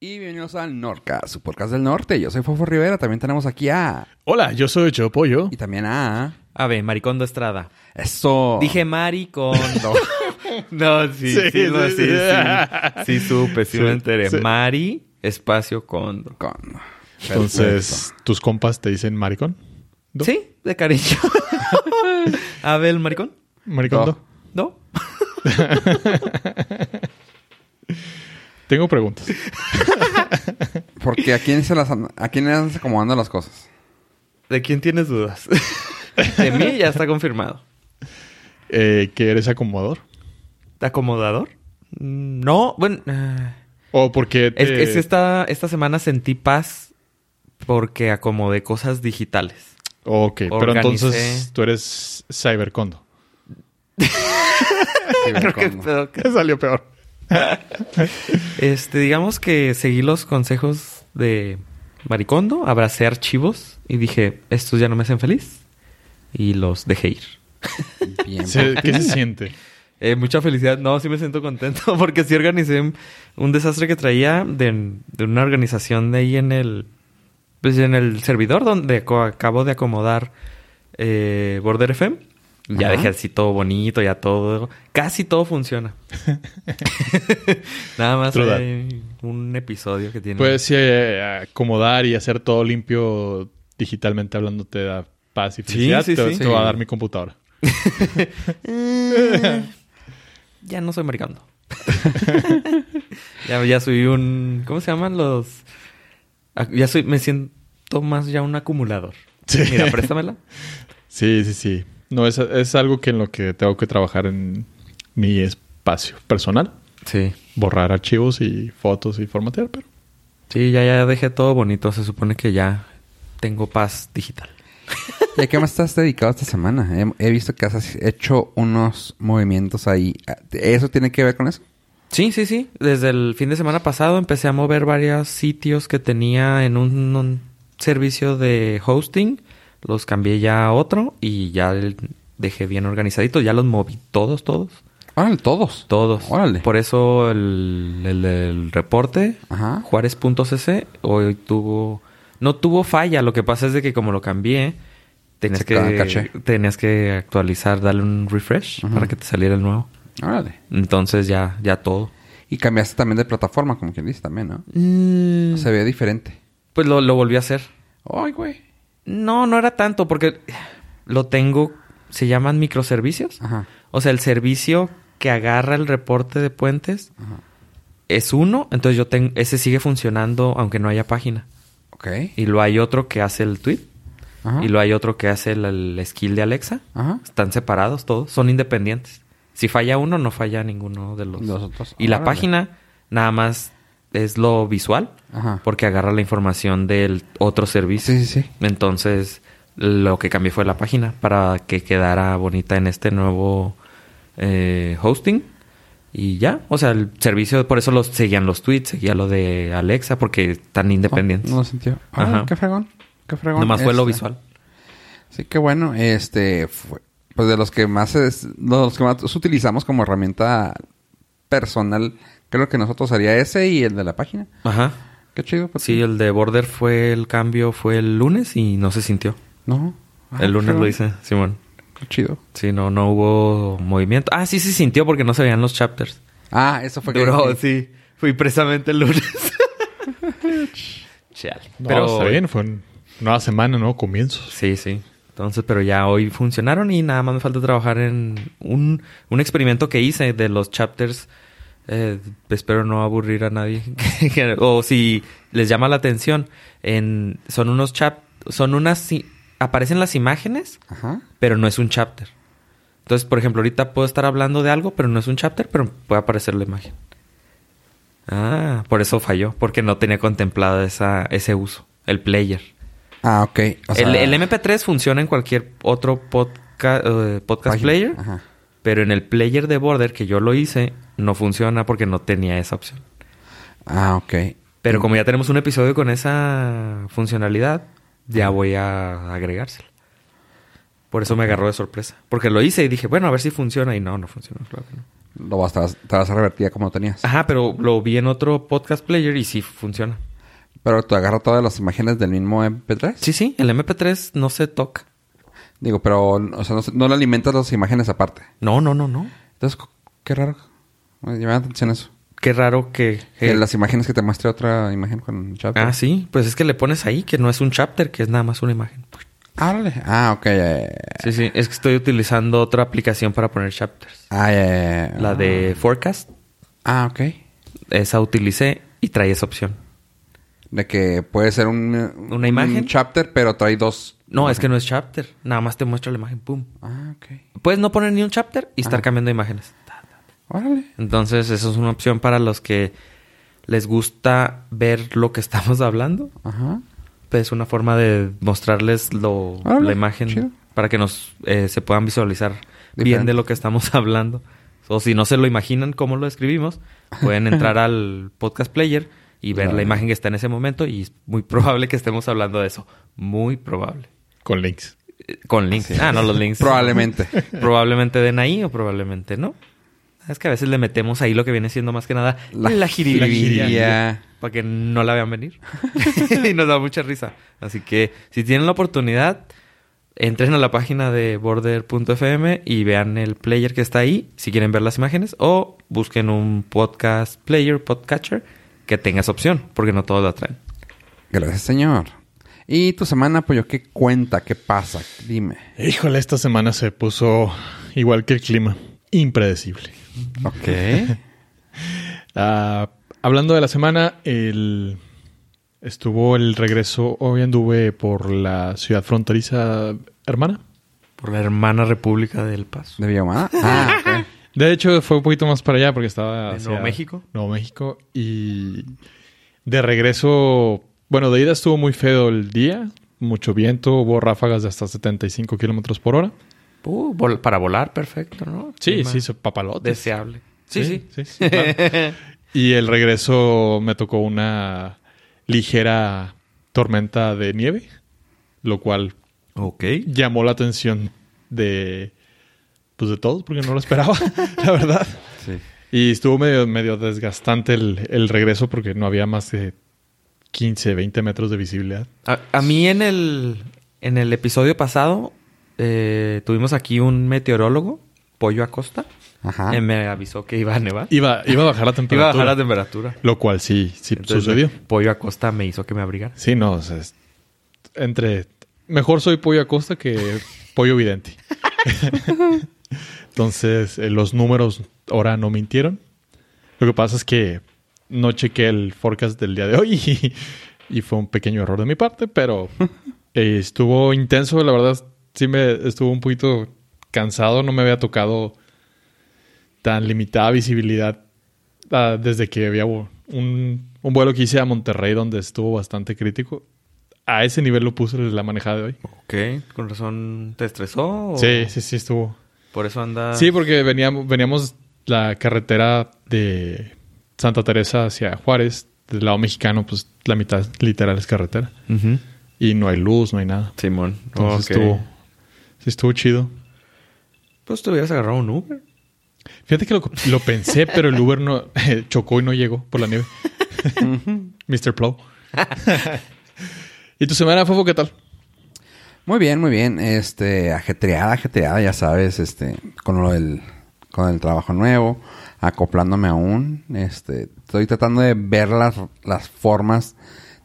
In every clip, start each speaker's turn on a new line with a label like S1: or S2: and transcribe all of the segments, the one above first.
S1: bienvenidos al Norca, su podcast del norte. Yo soy Fofo Rivera, también tenemos aquí a...
S2: Hola, yo soy Cho Pollo.
S1: Y también a...
S3: A ver, Maricondo Estrada.
S1: Eso.
S3: Dije Maricondo. no, sí, Oh. sí,
S2: Sí,
S3: no,
S2: sí,
S3: sí,
S2: sí.
S3: sí, sí. supe, sí,
S2: Sí,
S3: me enteré.
S2: sí.
S3: Mari, espacio condo.
S1: Con...
S2: Entonces, ¿tus compas te dicen maricón? ¿Do?
S3: Sí, de cariño. Abel Maricón.
S2: ¿Maricondo?
S1: Do.
S3: No.
S2: Tengo preguntas.
S1: Perfecto. Porque a quién se las... an- A quién le andas acomodando las cosas.
S3: ¿De quién tienes dudas? de mí ya está confirmado.
S2: Eh, ¿Que eres acomodador?
S3: ¿De acomodador? Mm, No, bueno. ah,
S2: ¿O porque
S3: Es,
S2: te-
S3: es que esta, esta semana sentí paz porque acomodé cosas digitales.
S2: Ok, pero
S3: Organicé.
S2: entonces tú eres cybercondo.
S3: Creo que-
S1: Cibercondo.
S3: pero que-
S2: Salió peor.
S3: Este, digamos que seguí los consejos de Maricondo, abracé archivos y dije, estos ya no me hacen feliz. Y los dejé ir.
S1: Bien.
S2: Se- ¿Qué se siente?
S3: Eh, mucha felicidad. No, sí me siento contento porque sí organicé un, un desastre que traía de, de una organización de ahí en el... Pues en el servidor donde co- acabo de acomodar eh, Border FM. Ya
S1: Ajá.
S3: dejé así todo bonito, ya todo... Casi todo funciona. Nada más
S2: True that.
S3: hay un episodio que tiene...
S2: Puedes eh, acomodar y hacer todo limpio digitalmente hablando te da paz y
S3: Sí,
S2: felicidad.
S3: sí,
S2: te,
S3: sí.
S2: te va a dar mi computadora.
S3: Ya no soy maricando. ya, ya soy un... ¿Cómo se llaman los...? Ah, Ya soy... Me siento más ya un acumulador.
S2: Sí.
S3: Mira, préstamela.
S2: Sí, sí, sí. No, es, es algo que en lo que tengo que trabajar en mi espacio personal.
S3: Sí.
S2: Borrar archivos y fotos y formatear, pero...
S3: Sí, ya, ya dejé todo bonito. Se supone que ya tengo paz digital.
S1: ¿Y a qué más estás dedicado esta semana? He, he visto que has hecho unos movimientos ahí. ¿Eso tiene que ver con eso?
S3: Sí, sí, sí. Desde el fin de semana pasado empecé a mover varios sitios que tenía en un, un servicio de hosting. Los cambié ya a otro y ya el- dejé bien organizadito. Ya los moví todos, todos.
S1: Órale, todos.
S3: Todos.
S1: Órale.
S3: Por eso el, el, del reporte,
S1: Ajá.
S3: juárez.cc, hoy tuvo... No tuvo falla. Lo que pasa es de que como lo cambié, tenías,
S1: Se ca- caché.
S3: que, tenías que actualizar, darle un refresh
S1: Ujú.
S3: para que te saliera el nuevo.
S1: Órale.
S3: Entonces ya, ya todo.
S1: Y cambiaste también de plataforma, como quien dice, también, ¿no?
S3: Mm.
S1: Se ve diferente.
S3: Pues lo, lo volví a hacer.
S1: Ay, güey.
S3: No, no era tanto porque lo tengo... Se llaman microservicios.
S1: Ajá.
S3: O sea, el servicio que agarra el reporte de puentes
S1: Ajá.
S3: es uno. Entonces yo tengo... Ese sigue funcionando aunque no haya página.
S1: Ok.
S3: Y lo hay otro que hace el tweet.
S1: Ajá.
S3: Y lo hay otro que hace el, el skill de Alexa.
S1: Ajá.
S3: Están separados todos. Son independientes. Si falla uno, no falla ninguno de los...
S1: Los otros.
S3: Y la
S1: Órale.
S3: página nada más es lo visual.
S1: Ajá.
S3: Porque agarra la información del otro servicio.
S1: Ah. Sí, sí, sí.
S3: Entonces, lo que cambié fue la página para que quedara bonita en este nuevo eh, hosting. Y ya, o sea, el servicio, por eso los seguían los tweets, seguía lo de Alexa, porque están independientes.
S1: No, no lo sintió. Órale,
S3: Ajá.
S1: qué fregón. Qué fregón.
S3: Nomás fue lo
S1: Este,
S3: visual.
S1: Sí, qué bueno. Este, fue- pues de los que más es- los que más utilizamos como herramienta personal, creo que nosotros haría ese y el de la página.
S3: Ajá.
S1: Qué chido. pues.
S3: Sí, el de Border fue el cambio, fue el lunes y no se sintió.
S1: No. Ah,
S3: el lunes
S1: fregón.
S3: lo hice, Simón.
S1: Qué chido.
S3: Sí, no, no hubo movimiento. Ah, sí se sintió porque no se veían los chapters.
S1: Ah, eso fue que-
S3: Duró, sí. Fui precisamente el lunes. Chale.
S2: No,
S3: pero
S2: está bien. Fue un- nueva semana, ¿no? Comienzos.
S3: Sí, sí. Entonces, pero ya hoy funcionaron y nada más me falta trabajar en un, un experimento que hice de los chapters. Eh, espero no aburrir a nadie. Que- o si les llama la atención, en, son unos chap, son unas, i- aparecen las imágenes,
S1: Ajá.
S3: pero no es un chapter. Entonces, por ejemplo, ahorita puedo estar hablando de algo, pero no es un chapter, pero puede aparecer la imagen. Ah, por eso falló, porque no tenía contemplado esa, ese uso, el player.
S1: Ah, ok. O sea,
S3: el, el MP3 funciona en cualquier otro podca- eh, podcast
S1: página.
S3: player,
S1: Ajá.
S3: pero en el player de Border, que yo lo hice, no funciona porque no tenía esa opción.
S1: Ah, ok.
S3: Pero como ya tenemos un episodio con esa funcionalidad, ya voy a agregárselo. Por eso me agarró de sorpresa. Porque lo hice y dije, bueno, a ver si funciona. Y no, no funciona, claro que no. Ah.
S1: Lo vas, te, vas, te vas a revertir a como lo tenías.
S3: Ajá, pero lo vi en otro podcast player y sí funciona.
S1: Pero tú agarras todas las imágenes del mismo MP3.
S3: Sí, sí, el MP3 no se toca.
S1: Digo, pero, o sea, no, se- no le alimentas las imágenes aparte.
S3: No, no, no, no.
S1: Entonces, co- qué raro. Me llama la atención eso.
S3: Qué raro que...
S1: Que
S3: eh,
S1: las imágenes que te muestre otra imagen con chat.
S3: Ah, sí. Pues es que le pones ahí que no es un chapter, que es nada más una imagen.
S1: Ah, órale. Ah, ok. ya, ya, ya.
S3: Sí, sí. Es que estoy utilizando otra aplicación para poner chapters.
S1: Ah, ya, ya, ya.
S3: La de Forecast.
S1: Ah, ok.
S3: Esa utilicé y trae esa opción.
S1: De que puede ser un...
S3: ¿Una imagen?
S1: Un chapter, pero trae dos.
S3: No, es que no es chapter. Nada más te muestra la imagen. Pum.
S1: Ah, ok.
S3: Puedes no poner ni un chapter y estar cambiando imágenes.
S1: Órale.
S3: Entonces, eso es una opción para los que les gusta ver lo que estamos hablando.
S1: Ajá.
S3: Pues, Es una forma de mostrarles lo,
S1: Órale,
S3: la imagen
S1: chido.
S3: para que nos eh, se puedan visualizar bien
S1: Diferente.
S3: de lo que estamos hablando. O si no se lo imaginan cómo lo escribimos, pueden entrar al podcast player y ver la
S1: Vale.
S3: imagen que está en ese momento y es muy probable que estemos hablando de eso. Muy probable.
S2: Con links.
S3: Eh, Con links. Ah, no, los links.
S1: Probablemente.
S3: probablemente den ahí o probablemente no. Ah, Es que a veces le metemos ahí lo que viene siendo más que nada la, jiribilla.
S1: jiribilla.
S3: Para que no la vean venir. y nos da mucha risa. Así que si tienen la oportunidad, entren a la página de border.fm y vean el player que está ahí si quieren ver las imágenes o busquen un podcast player, podcatcher que tenga esa opción porque no todos la traen.
S1: Gracias, señor. ¿Y tu semana, Pollo? ¿Qué cuenta? ¿Qué pasa? Dime.
S2: Híjole, esta semana se puso igual que el clima. Impredecible.
S1: Ok.
S2: Ah, hablando de la semana, el... estuvo el regreso. Hoy anduve por la ciudad fronteriza hermana.
S3: Por la hermana República del Paso.
S1: ¿De Villahumada? Ah, ok.
S2: De hecho, fue un poquito más para allá porque estaba.
S3: ¿De
S2: hacia
S3: Nuevo México?
S2: Nuevo México. Y de regreso. Bueno, de ida estuvo muy feo el día. Mucho viento, hubo ráfagas de hasta 75 kilómetros por hora.
S3: Uh, vol- para volar, perfecto, ¿no?
S2: Sí,
S3: Clima
S2: sí, se papalote.
S3: Deseable. Sí, sí.
S2: claro. y el regreso me tocó una ligera tormenta de nieve, lo cual
S3: Ok.
S2: llamó la atención de pues de todos porque no lo esperaba, la verdad.
S1: Sí.
S2: Y estuvo medio, medio desgastante el, el regreso porque no había más de 15, 20 metros de visibilidad.
S3: A, a mí en el, en el episodio pasado eh, tuvimos aquí un meteorólogo, Pollo Acosta.
S1: Ajá.
S3: Eh, me avisó que iba a nevar.
S2: Iba, iba a bajar la
S3: Iba a
S2: temperatura.
S3: bajar la temperatura.
S2: Lo cual sí, sí
S3: Entonces,
S2: sucedió.
S3: Pollo Acosta me hizo que me abrigara.
S2: Sí, no, o sea, es- entre... Mejor soy pollo acosta que pollo vidente. Entonces, eh, los números ahora no mintieron. Lo que pasa es que no chequé el forecast del día de hoy y, y fue un pequeño error de mi parte, pero eh, estuvo intenso, la verdad, sí me estuvo un poquito cansado, no me había tocado tan limitada visibilidad ah, desde que había vu- un, un vuelo que hice a Monterrey donde estuvo bastante crítico. A ese nivel lo puse la manejada de hoy.
S3: Ok. ¿Con razón te estresó? o
S2: Sí, sí, sí, estuvo.
S3: Por eso anda...
S2: Sí, porque veníamos, veníamos la carretera de Santa Teresa hacia Juárez, del lado mexicano, pues la mitad literal es carretera.
S3: Ujú.
S2: Y no hay luz, no hay nada.
S3: Simón.
S2: Entonces
S3: Ok.
S2: estuvo, sí estuvo chido.
S3: Pues te hubieras agarrado un Uber.
S2: Fíjate que lo, lo pensé, pero el Uber no chocó y no llegó por la nieve. Mr. Plow. ¿Y tu semana, Fofo, qué tal?
S1: Muy bien, muy bien. Este, ajetreada, ajetreada, ya sabes, este, con lo del, con el trabajo nuevo, acoplándome aún. Este, estoy tratando de ver las, las formas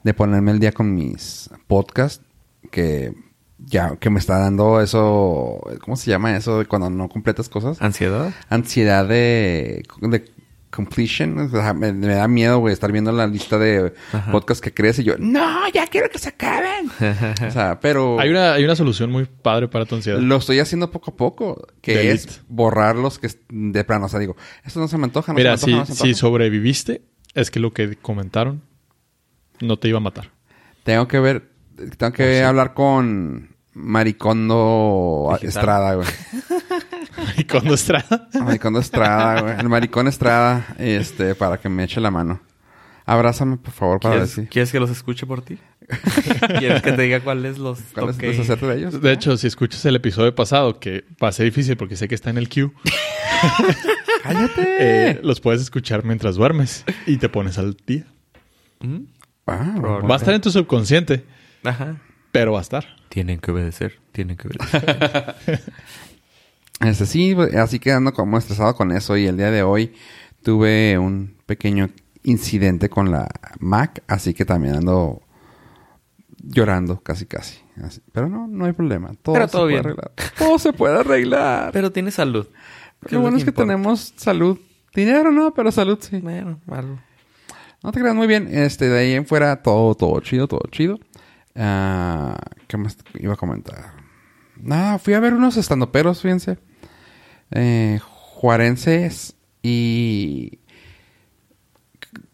S1: de ponerme el día con mis podcasts, que ya, que me está dando eso, ¿cómo se llama eso? de Cuando no completas cosas.
S3: ¿Ansiedad?
S1: Ansiedad de, de completion. o sea, me, me da miedo, güey, estar viendo la lista de
S3: Ajá.
S1: podcasts que crees y yo, no, ya quiero que se acaben. o sea, pero...
S2: Hay una, hay una solución muy padre para tu ansiedad.
S1: Oh. Lo estoy haciendo poco a poco, que
S2: Delete.
S1: es borrar los que est- de plano. O sea, digo, esto no se me antoja, no
S2: Mira,
S1: se me
S2: si,
S1: antoja, no se me
S2: si
S1: antoja.
S2: sobreviviste, es que lo que comentaron no te iba a matar.
S1: Tengo que ver, tengo que
S2: Oh,
S1: hablar con Maricondo
S3: Digital.
S1: Estrada, güey.
S2: Y cuando Estrada.
S1: Maricondo Estrada, güey. El Maricón Estrada, este, para que me eche la mano. Abrázame, por favor, para
S3: ¿Quieres,
S1: decir.
S3: quieres que los escuche por ti? ¿Quieres que te diga cuáles los
S1: ¿Cuál es
S3: toqué?
S1: deshacerte de ellos?
S2: De hecho, si escuchas el episodio pasado, que va a ser difícil porque sé que está en el queue,
S1: ¡Cállate!
S2: eh, los puedes escuchar mientras duermes y te pones al día.
S3: ¿Mm?
S1: Ah,
S3: Probable.
S2: Va a estar en tu subconsciente,
S3: Ajá.
S2: pero va a estar.
S3: Tienen que obedecer, tienen que obedecer.
S1: Este, sí, pues, así que ando como estresado con eso y el día de hoy tuve un pequeño incidente con la Mac, así que también ando llorando casi casi. Así- Pero no, no hay problema. Todo
S3: Pero
S1: se
S3: todo
S1: puede
S3: bien.
S1: arreglar. Todo se puede arreglar.
S3: Ah, pero tiene salud.
S1: Lo bueno es que
S3: importa?
S1: tenemos salud. Dinero no, pero salud sí.
S3: Bueno, algo.
S1: No te creas muy bien. Este, de ahí en fuera, todo, todo chido, todo chido. Ah, ¿Qué más iba a comentar? Nada, Ah, fui a ver unos estandoperos, fíjense. Eh, juarenses y...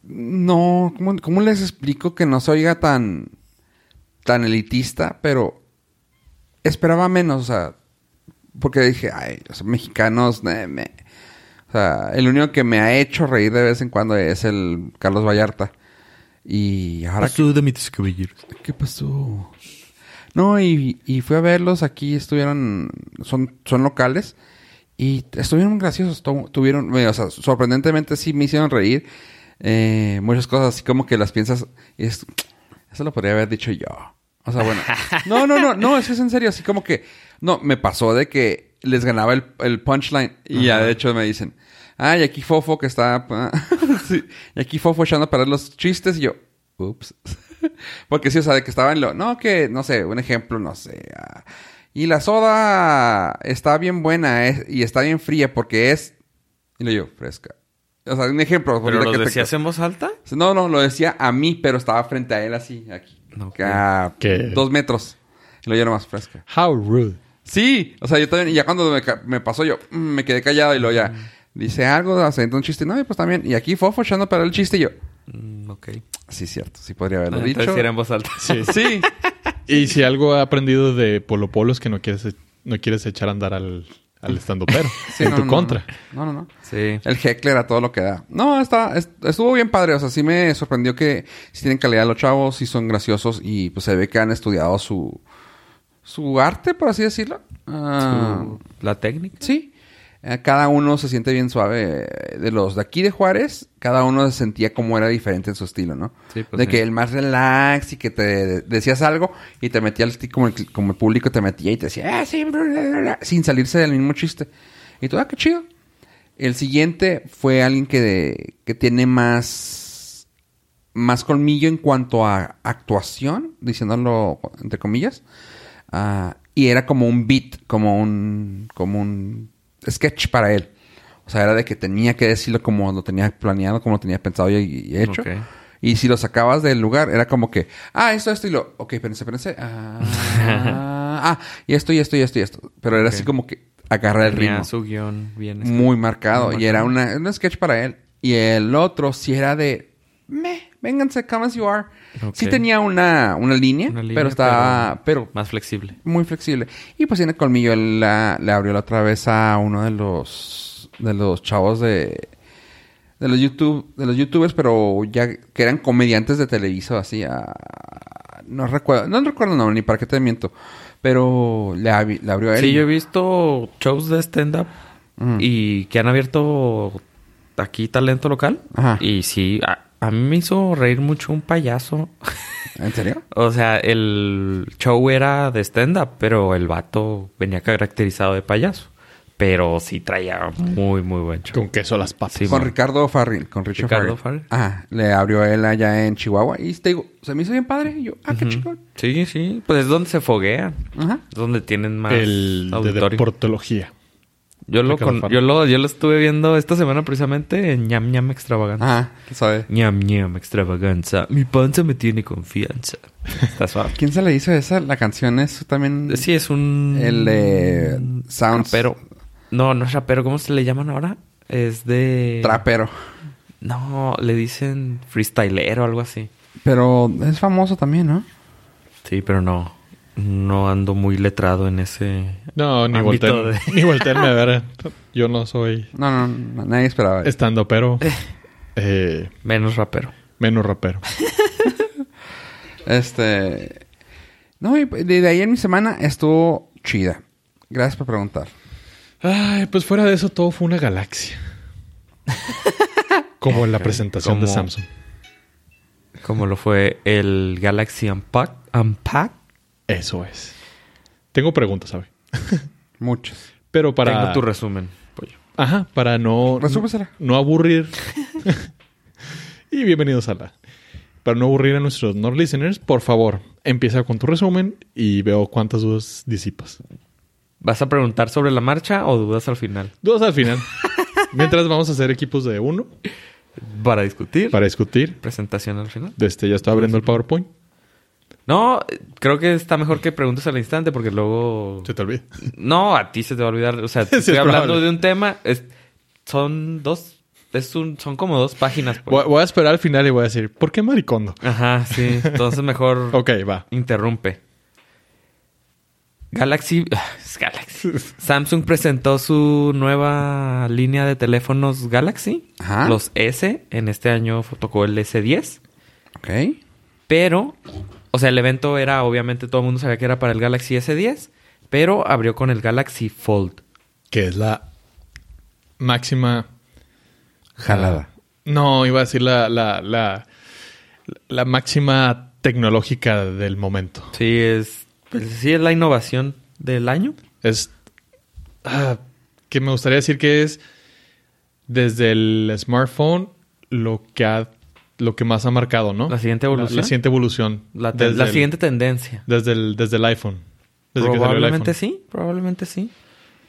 S1: No, ¿cómo, cómo les explico que no se oiga tan, tan elitista? Pero esperaba menos, o sea, porque dije, ay, los mexicanos, eh, me- o sea, el único que me ha hecho reír de vez en cuando es el Carlos Vallarta. Y ahora que-
S3: Pasó de mis caballeros.
S1: ¿Qué pasó? No, y, y fui a verlos aquí, estuvieron, son, son locales y estuvieron graciosos, tu- tuvieron, eh, o sea, sorprendentemente sí me hicieron reír eh, muchas cosas, así como que las piensas, y es, eso lo podría haber dicho yo. O sea, bueno, no, no, no, no, es que es en serio, así como que, no, me pasó de que les ganaba el, el punchline y ya de hecho me dicen, ah, y aquí Fofo que está, sí, y aquí Fofo echando a perder los chistes y yo, ups. Porque sí, o sea, de que estaba en lo... No, que, no sé, un ejemplo, no sé. ah, y la soda está bien buena es- y está bien fría porque es... Y le digo, fresca. O sea, un ejemplo.
S3: ¿Pero
S1: ahorita
S3: los
S1: que te-
S3: decías en voz alta?
S1: No, no, lo decía a mí, pero estaba frente a él así, aquí.
S3: No,
S1: Ah,
S2: ¿qué?
S1: Dos metros. Y lo yo nomás, fresca.
S2: How rude.
S1: Sí, o sea, yo también, ya cuando me, ca- me pasó yo, mm, me quedé callado y luego ya dice algo, haciendo un chiste, no, y pues también, y aquí Fofo echando para el chiste y yo,
S3: Mm, ok.
S1: sí, cierto, sí podría haberlo
S3: Entonces
S1: dicho.
S3: sí era en voz alta.
S2: Sí.
S1: Sí,
S2: Y si algo he aprendido de Polo Polo es que no quieres, e- no quieres echar a andar al, al estandopero.
S1: Sí,
S2: en
S1: no,
S2: tu
S1: no,
S2: contra.
S1: No, no, no. no.
S3: Sí.
S1: El heckler a todo lo que da. No, está, est- estuvo bien padre. O sea, sí me sorprendió que si tienen calidad los chavos, sí son graciosos y pues se ve que han estudiado su, su arte, por así decirlo. Ah,
S3: ¿La técnica?
S1: Sí. Eh, Cada uno se siente bien suave. eh, De los de aquí de Juárez, cada uno se sentía como era diferente en su estilo, ¿no?
S3: Sí, pues
S1: de
S3: sí.
S1: que el más relax y que te de- decías algo y te metía el, como, el, como el público te metía y te decía, ah, sí, bla, bla, bla, bla", sin salirse del mismo chiste. Y tú, ah, qué chido. El siguiente fue alguien que, de- que tiene más, más colmillo en cuanto a actuación, diciéndolo entre comillas. Ah, y era como un beat, como un, como un sketch para él. O sea, era de que tenía que decirlo como lo tenía planeado, como lo tenía pensado y, y hecho.
S3: Ok.
S1: Y si lo sacabas del lugar, era como que, ah, esto, esto y lo. Ok, pensé, pensé. Ah, ah, y esto, y esto, y esto, y esto. Pero era
S3: Ok.
S1: así como que agarrar el
S3: Tenía
S1: ritmo
S3: su guión bien. escrito.
S1: muy marcado.
S3: Muy
S1: y era una, un sketch para él. Y el otro sí era de... Meh, vénganse, come as you are.
S3: Ok.
S1: Sí tenía una, una, línea,
S3: Una línea,
S1: pero estaba... Pero,
S3: Más flexible.
S1: muy flexible. Y pues tiene colmillo. Él la- le abrió la otra vez a uno de los... De los chavos de... De los YouTube... De los YouTubers, pero ya... Que eran comediantes de Televiso, así. a- no recuerdo... No recuerdo el nombre, ni para qué te miento. Pero le, abri- le abrió a él. Mm.
S3: Sí, yo he visto shows de stand-up
S1: Ujú.
S3: y que han abierto aquí talento local.
S1: Ajá.
S3: Y sí, a, a mí me hizo reír mucho un payaso.
S1: ¿En serio?
S3: o sea, el show era de stand-up, pero el vato venía caracterizado de payaso. Pero sí traía muy, muy buen show.
S2: Con queso a las patas.
S3: Sí,
S1: con
S3: man.
S1: Ricardo Farril, con Richard
S3: Ricardo
S1: Farrell.
S3: Farrell.
S1: Ajá, le abrió él allá en Chihuahua y te digo, se me hizo bien padre. Y yo, ah, qué chico.
S3: Sí, sí. Pues es donde se foguean.
S1: Ajá.
S3: Es donde tienen más
S2: el de
S3: auditorio.
S2: deportología.
S3: yo, lo
S2: Ricardo
S3: con-
S2: Farrell.
S3: yo, lo, yo lo estuve viendo esta semana precisamente en ñam ñam extravagante.
S1: Ajá, ¿quién sabe?
S3: ñam ñam extravaganza. Mi panza me tiene confianza. Está suave.
S1: ¿Quién se le hizo esa? La canción es también.
S3: Sí, es un.
S1: El de. Sounds.
S3: Rapero. No, no es rapero. ¿Cómo se le llaman ahora? Es de.
S1: Trapero.
S3: No, le dicen freestylero o algo así.
S1: Pero es famoso también, ¿no?
S3: Sí, pero no. No ando muy letrado en ese.
S2: No, ni
S3: ámbito
S2: volteen,
S3: de-
S2: ni volteenme a ver. Yo no soy
S1: No, no, no, nadie esperaba. eso.
S2: estandopero. Eh,
S3: Menos rapero.
S2: menos rapero.
S1: Este. No, y de de ahí en mi semana estuvo chida. Gracias por preguntar.
S2: Ay, pues fuera de eso, todo fue una galaxia. Como en la presentación de
S3: Como-
S2: Samsung.
S3: Como lo fue el Galaxy Unpack. Unpack.
S2: Eso es. Tengo preguntas, ¿sabe?
S1: Muchos.
S2: Pero para...
S3: Tengo tu resumen. pollo.
S2: Ajá, para no...
S1: Resúmesela.
S2: no aburrir. y bienvenidos a la. Para no aburrir a nuestros no listeners, por favor, empieza con tu resumen y veo cuántas dudas disipas.
S3: ¿Vas a preguntar sobre la marcha o dudas al final?
S2: Dudas al final. Mientras vamos a hacer equipos de uno
S3: Para discutir.
S2: para discutir.
S3: Presentación al final.
S2: Este, ya estoy abriendo el PowerPoint.
S3: No, eh, creo que está mejor que preguntes al instante porque luego...
S2: Se te olvida.
S3: No, a ti se te va a olvidar. O sea,
S2: Sí, es
S3: estoy hablando
S2: probable.
S3: de un tema. es- son dos... Es un, son como dos páginas. pues.
S2: Voy, voy a esperar al final y voy a decir, ¿por qué maricondo?
S3: Ajá, sí. Entonces mejor
S2: Ok, va.
S3: interrumpe. Galaxy... es Galaxy. Samsung presentó su nueva línea de teléfonos Galaxy.
S1: Ajá.
S3: Los S. En este año tocó el S10.
S1: Ok.
S3: Pero, o sea, el evento era, obviamente, todo el mundo sabía que era para el Galaxy S10, pero abrió con el Galaxy Fold.
S2: Que es la máxima.
S1: Jalada.
S2: No, iba a decir la, la, la, la máxima tecnológica del momento.
S3: Sí, es, pues, sí es la innovación del año.
S2: Es. ah, que me gustaría decir que es. Desde el smartphone, lo que ha, lo que más ha marcado, ¿no?
S3: La siguiente evolución.
S2: La, siguiente evolución.
S3: La, te- la
S2: el-
S3: siguiente tendencia.
S2: Desde el, desde el iPhone. Desde que salió el
S3: probablemente
S2: iPhone.
S3: sí, probablemente sí.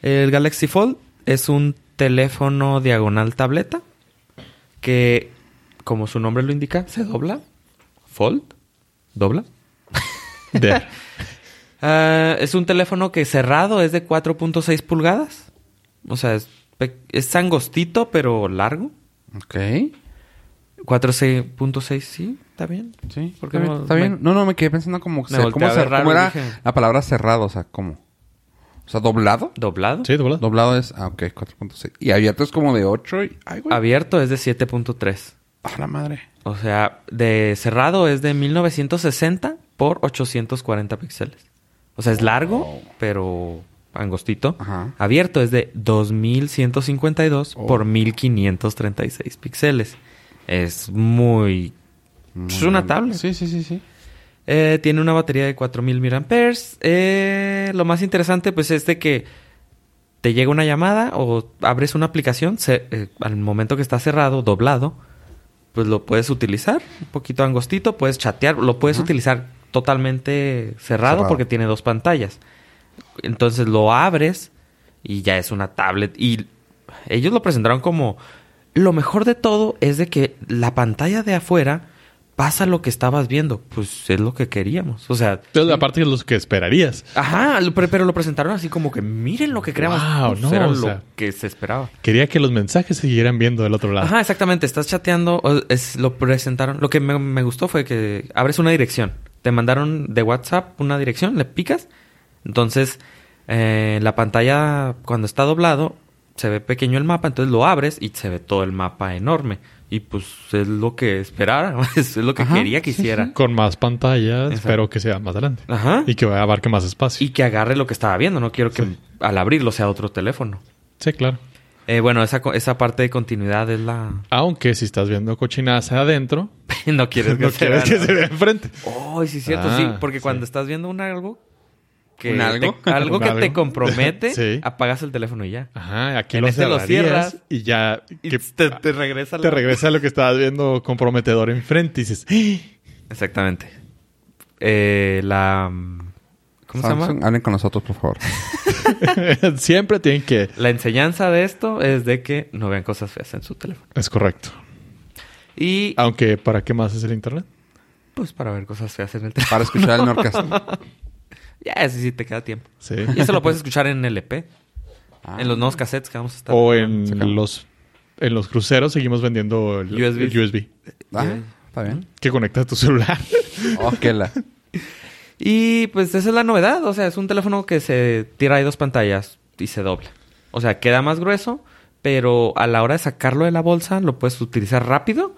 S3: El Galaxy Fold es un teléfono diagonal tableta que, como su nombre lo indica, se dobla. Fold. Dobla.
S2: There.
S3: Ah, es un teléfono que cerrado es de 4.6 pulgadas. O sea, es, pe- es angostito pero largo.
S1: Ok.
S3: 4.6, sí, está bien.
S1: Sí.
S3: ¿Por
S1: está
S3: qué
S1: bien,
S3: no-
S1: está bien.
S3: me-
S1: No, no, me quedé pensando como...
S3: Me volteé
S1: ¿Cómo,
S3: a ver
S1: cer- cómo
S3: raro,
S1: era
S3: dije.
S1: la palabra cerrado? O sea, ¿cómo? O sea, ¿doblado?
S3: Doblado.
S2: Sí, doblado.
S1: Doblado es... Ah, ok. 4.6. Y abierto es como de 8 y... Ay, güey.
S3: Abierto es de 7.3.
S1: A la madre.
S3: O sea, de cerrado es de 1960 por 840 píxeles. O sea, es largo,
S1: Wow.
S3: pero angostito.
S1: Ajá.
S3: Abierto es de 2152
S1: Oh.
S3: por 1536 píxeles. Es muy... pues, Es una tablet.
S1: Sí, sí, sí, sí.
S3: Eh, tiene una batería de 4000 mAh. Eh, lo más interesante, pues, es de que te llega una llamada o abres una aplicación. se- eh, al momento que está cerrado, doblado, pues lo puedes utilizar. Un poquito angostito, puedes chatear. Lo puedes utilizar totalmente cerrado,
S1: Cerrado.
S3: porque tiene dos pantallas. Entonces lo abres y ya es una tablet. Y ellos lo presentaron como... Lo mejor de todo es de que la pantalla de afuera pasa lo que estabas viendo. Pues es lo que queríamos. O sea...
S2: Entonces, aparte de los que esperarías.
S3: Ajá, lo- pero, pero lo presentaron así como que miren lo que creamos.
S2: Wow,
S3: Pues,
S2: no,
S3: era
S2: o
S3: lo
S2: sea.
S3: que se esperaba.
S2: Quería que los mensajes se siguieran viendo del otro lado.
S3: Ajá, exactamente. Estás chateando. o- es- lo presentaron. Lo que me, me gustó fue que abres una dirección. Te mandaron de WhatsApp una dirección, le picas. Entonces, eh, la pantalla, cuando está doblado, se ve pequeño el mapa. Entonces lo abres y se ve todo el mapa enorme. Y pues es lo que esperara. Es lo que
S1: Ajá,
S3: quería que hiciera.
S2: Con más pantallas,
S3: Exacto.
S2: espero que sea más adelante.
S3: Ajá.
S2: Y que abarque más espacio.
S3: Y que agarre lo que estaba viendo. No quiero que al abrirlo sea otro teléfono.
S2: Sí, claro.
S3: Eh, bueno, esa, co- esa parte de continuidad es la...
S2: Aunque si estás viendo cochinadas adentro,
S3: no quieres que
S2: no
S3: se
S2: quieres
S3: vea,
S2: que
S3: ¿no?
S2: se vea enfrente.
S3: Oh, sí, es cierto,
S2: Ah,
S3: sí. Porque cuando
S2: sí.
S3: estás viendo un algo que
S1: ¿Un algo?
S3: te- algo
S2: Un
S3: que te
S2: algo.
S3: compromete,
S2: Sí.
S3: apagas el teléfono y ya.
S2: Ajá, aquí
S3: En
S2: lo,
S3: este lo
S2: cerrarías
S3: cierras
S2: y ya
S3: Y
S2: que ah,
S3: te, te regresa
S2: te
S3: la-
S2: regresa lo que estabas viendo comprometedor enfrente y dices, "¡Ah!".
S3: Exactamente. Eh, la ¿cómo se
S1: Samsung,
S3: llama?
S1: Hablen con nosotros, por favor.
S2: "¡Ah! siempre tienen que...
S3: La enseñanza de esto es de que no vean cosas feas en su teléfono.
S2: Es correcto.
S3: Y
S2: Aunque, ¿para qué más es el internet?
S3: pues para ver cosas feas en el teléfono.
S1: Para escuchar el Nordcast.
S3: Ya, eso sí te queda tiempo.
S2: Sí.
S3: Y eso lo puedes escuchar en LP,
S1: Ah.
S3: en los nuevos cassettes que vamos a estar.
S2: o en
S1: Se acabó.
S2: los, en los cruceros seguimos vendiendo el el
S3: USB.
S2: USB,
S1: Ah, está bien.
S2: que conectas tu celular.
S1: Oh, que la...
S3: Y pues esa es la novedad, o sea, es un teléfono que se tira de dos pantallas y se dobla. O sea, queda más grueso, pero a la hora de sacarlo de la bolsa lo puedes utilizar rápido.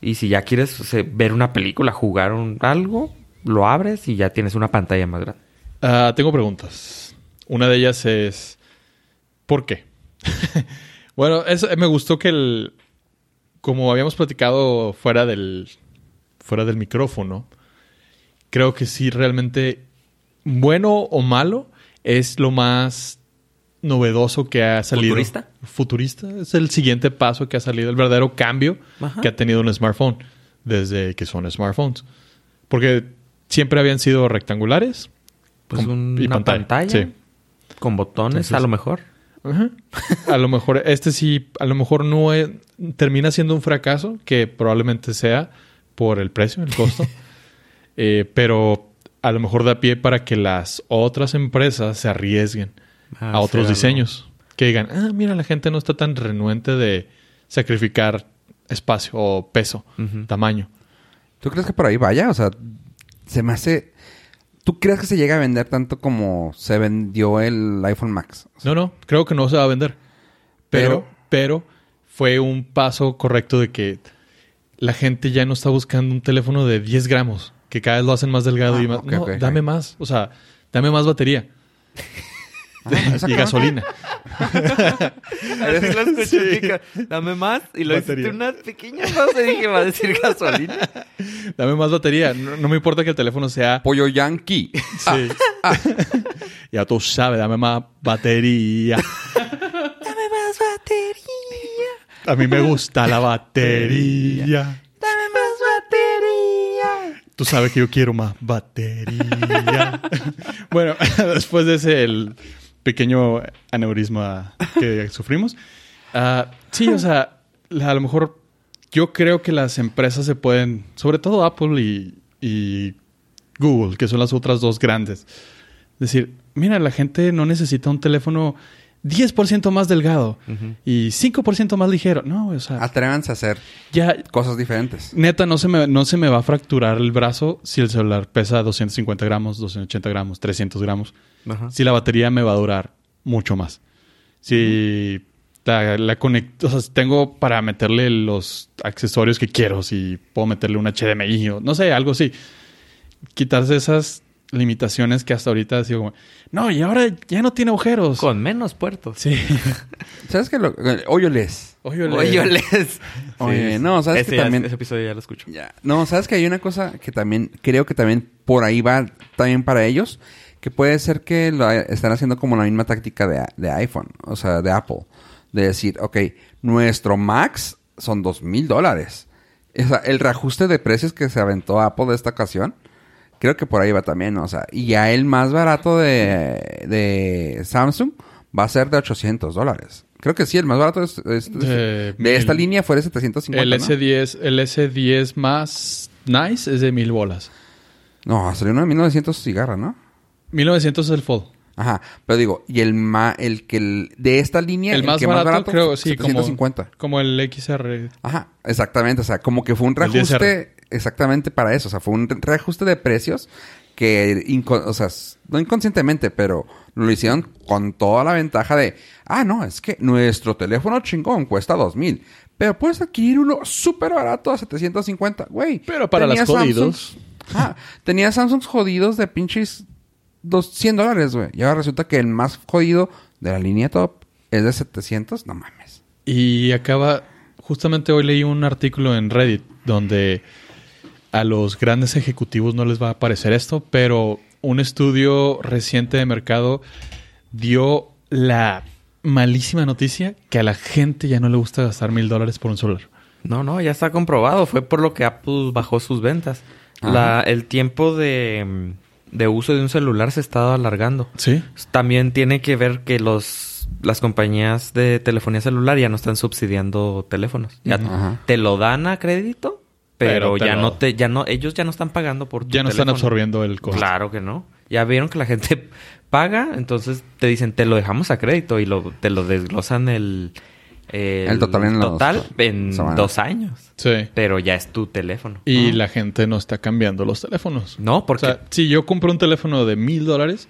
S3: Y si ya quieres o sea, ver una película, jugar un- algo, lo abres y ya tienes una pantalla más grande.
S2: Ah, tengo preguntas. Una de ellas es, ¿por qué? bueno, eso- me gustó que el, como habíamos platicado fuera del, fuera del micrófono, creo que sí realmente bueno o malo es lo más novedoso que ha salido.
S3: ¿Futurista?
S2: Futurista. Es el siguiente paso que ha salido, el verdadero cambio
S3: Ajá.
S2: que ha tenido un smartphone desde que son smartphones. Porque siempre habían sido rectangulares.
S3: Pues
S2: con-
S3: un-
S2: y
S3: una pantalla.
S2: Sí.
S3: Con botones,
S2: Entonces-
S3: a lo mejor.
S2: Ajá. A lo mejor este sí, a lo mejor no es- termina siendo un fracaso, que probablemente sea por el precio, el costo, Eh, pero a lo mejor da pie para que las otras empresas se arriesguen
S3: Ah,
S2: a otros
S3: será, ¿no?
S2: diseños, que digan, ah, mira, la gente no está tan renuente de sacrificar espacio o peso,
S3: Ujú.
S2: tamaño.
S1: ¿Tú crees que por ahí vaya? O sea, se me hace... ¿Tú crees que se llega a vender tanto como se vendió el iPhone Max?
S2: No, no, creo que no se va a vender. Pero, pero, fue un paso correcto de que la gente ya no está buscando un teléfono de 10 gramos, que cada vez lo hacen más delgado
S1: Ah,
S2: y más.
S1: ok,
S2: no,
S1: ok, ok.
S2: dame más, o sea, dame más batería
S1: Ah,
S2: y gasolina.
S3: Así lo escuché, chica. Dame más. Y lo
S2: Batería.
S3: hiciste una pequeña pausa y dije, va a decir gasolina.
S2: Dame más batería. No, no me importa que el teléfono sea.
S1: Pollo Yankee.
S2: Sí.
S1: ah.
S2: ya tú sabes, dame más batería.
S3: Dame más batería.
S2: A mí me gusta la batería.
S3: Dame más batería.
S2: Tú sabes que yo quiero más batería. bueno, después de ese el pequeño aneurisma que sufrimos. ah, sí, o sea, la- a lo mejor yo creo que las empresas se pueden, sobre todo Apple y, y Google, que son las otras dos grandes, decir, mira, la gente no necesita un teléfono 10% más delgado
S3: Ujú.
S2: y 5% más ligero. No, o sea,
S1: Atrévanse a hacer
S2: ya
S1: cosas diferentes.
S2: Neta, no se, me, no se me va a fracturar el brazo si el celular pesa 250 gramos, 280 gramos, 300 gramos.
S3: Ajá.
S2: Si la batería me va a durar mucho más. Si la, la conecto, o sea, si tengo para meterle los accesorios que quiero, si puedo meterle un HDMI o no sé, algo así. Quitarse esas limitaciones que hasta ahorita ha sido como, no, y ahora ya no tiene agujeros.
S3: Con menos puertos.
S2: Sí.
S1: ¿Sabes qué? Lo... Óyoles.
S2: Óyole.
S3: les.
S1: Oye, no, ¿sabes que
S3: ya-
S1: también-
S3: ese episodio ya lo escucho.
S1: Ya. No, sabes que hay una cosa que también creo que también por ahí va también para ellos, que puede ser que lo ha- están haciendo como la misma táctica de, a- de iPhone, o sea, de Apple, de decir, ok, nuestro max son dos mil dólares. O sea, el reajuste de precios que se aventó Apple de esta ocasión, creo que por ahí va también, o sea, y ya el más barato de, de Samsung va a ser de 800 dólares. Creo que sí, el más barato es- es-
S2: De
S1: de, esta
S2: mil.
S1: línea fue de 750.
S2: El
S1: ¿no?
S2: S10, el S10 más nice es de mil bolas.
S1: No, salió uno de 1900 cigarra, ¿no?
S2: 1900 es el Fold.
S1: Ajá, pero digo, y el ma, el que el- de esta línea
S2: El, más
S1: que
S2: barato, creo, sí, como,
S1: 750.
S2: como el XR.
S1: Ajá, exactamente, o sea, como que fue un
S2: El 10R.
S1: reajuste exactamente para eso, o sea, fue un reajuste de precios que inco- o sea, s- no inconscientemente, pero lo hicieron con toda la ventaja de, ah, no, es que nuestro teléfono chingón cuesta 2000, pero puedes adquirir uno súper barato a 750, güey.
S2: Pero para las
S1: Samsungs-
S2: jodidos.
S1: Ajá, tenía Samsung jodidos de pinches dos- 100 dólares, güey. Y ahora resulta que el más jodido de la línea top es de 700, no mames.
S2: Y acaba. Justamente hoy leí un artículo en Reddit donde a los grandes ejecutivos no les va a aparecer esto, pero un estudio reciente de mercado dio la malísima noticia que a la gente ya no le gusta gastar mil dólares por un celular.
S3: No, no, ya está comprobado. Fue por lo que Apple bajó sus ventas.
S1: Ajá.
S3: La, el tiempo de, mm, de uso de un celular se está alargando.
S2: Sí.
S3: También tiene que ver que los las compañías de telefonía celular ya no están subsidiando teléfonos. Ya
S1: Ajá.
S3: te lo dan a crédito,
S2: Pero
S3: pero,
S2: te
S3: ya
S2: lo-
S3: no te ya no ellos ya no están pagando por tu
S2: Ya no están
S3: teléfono.
S2: absorbiendo el costo.
S3: Claro que no. Ya vieron que la gente paga, entonces te dicen, te lo dejamos a crédito y lo, te lo desglosan el,
S1: El total en los-
S3: total en
S1: semanas.
S3: dos años.
S2: Sí.
S3: Pero ya es tu teléfono.
S2: Y la gente no está cambiando los teléfonos.
S3: No, porque
S2: O sea, si yo compro un teléfono de mil dólares,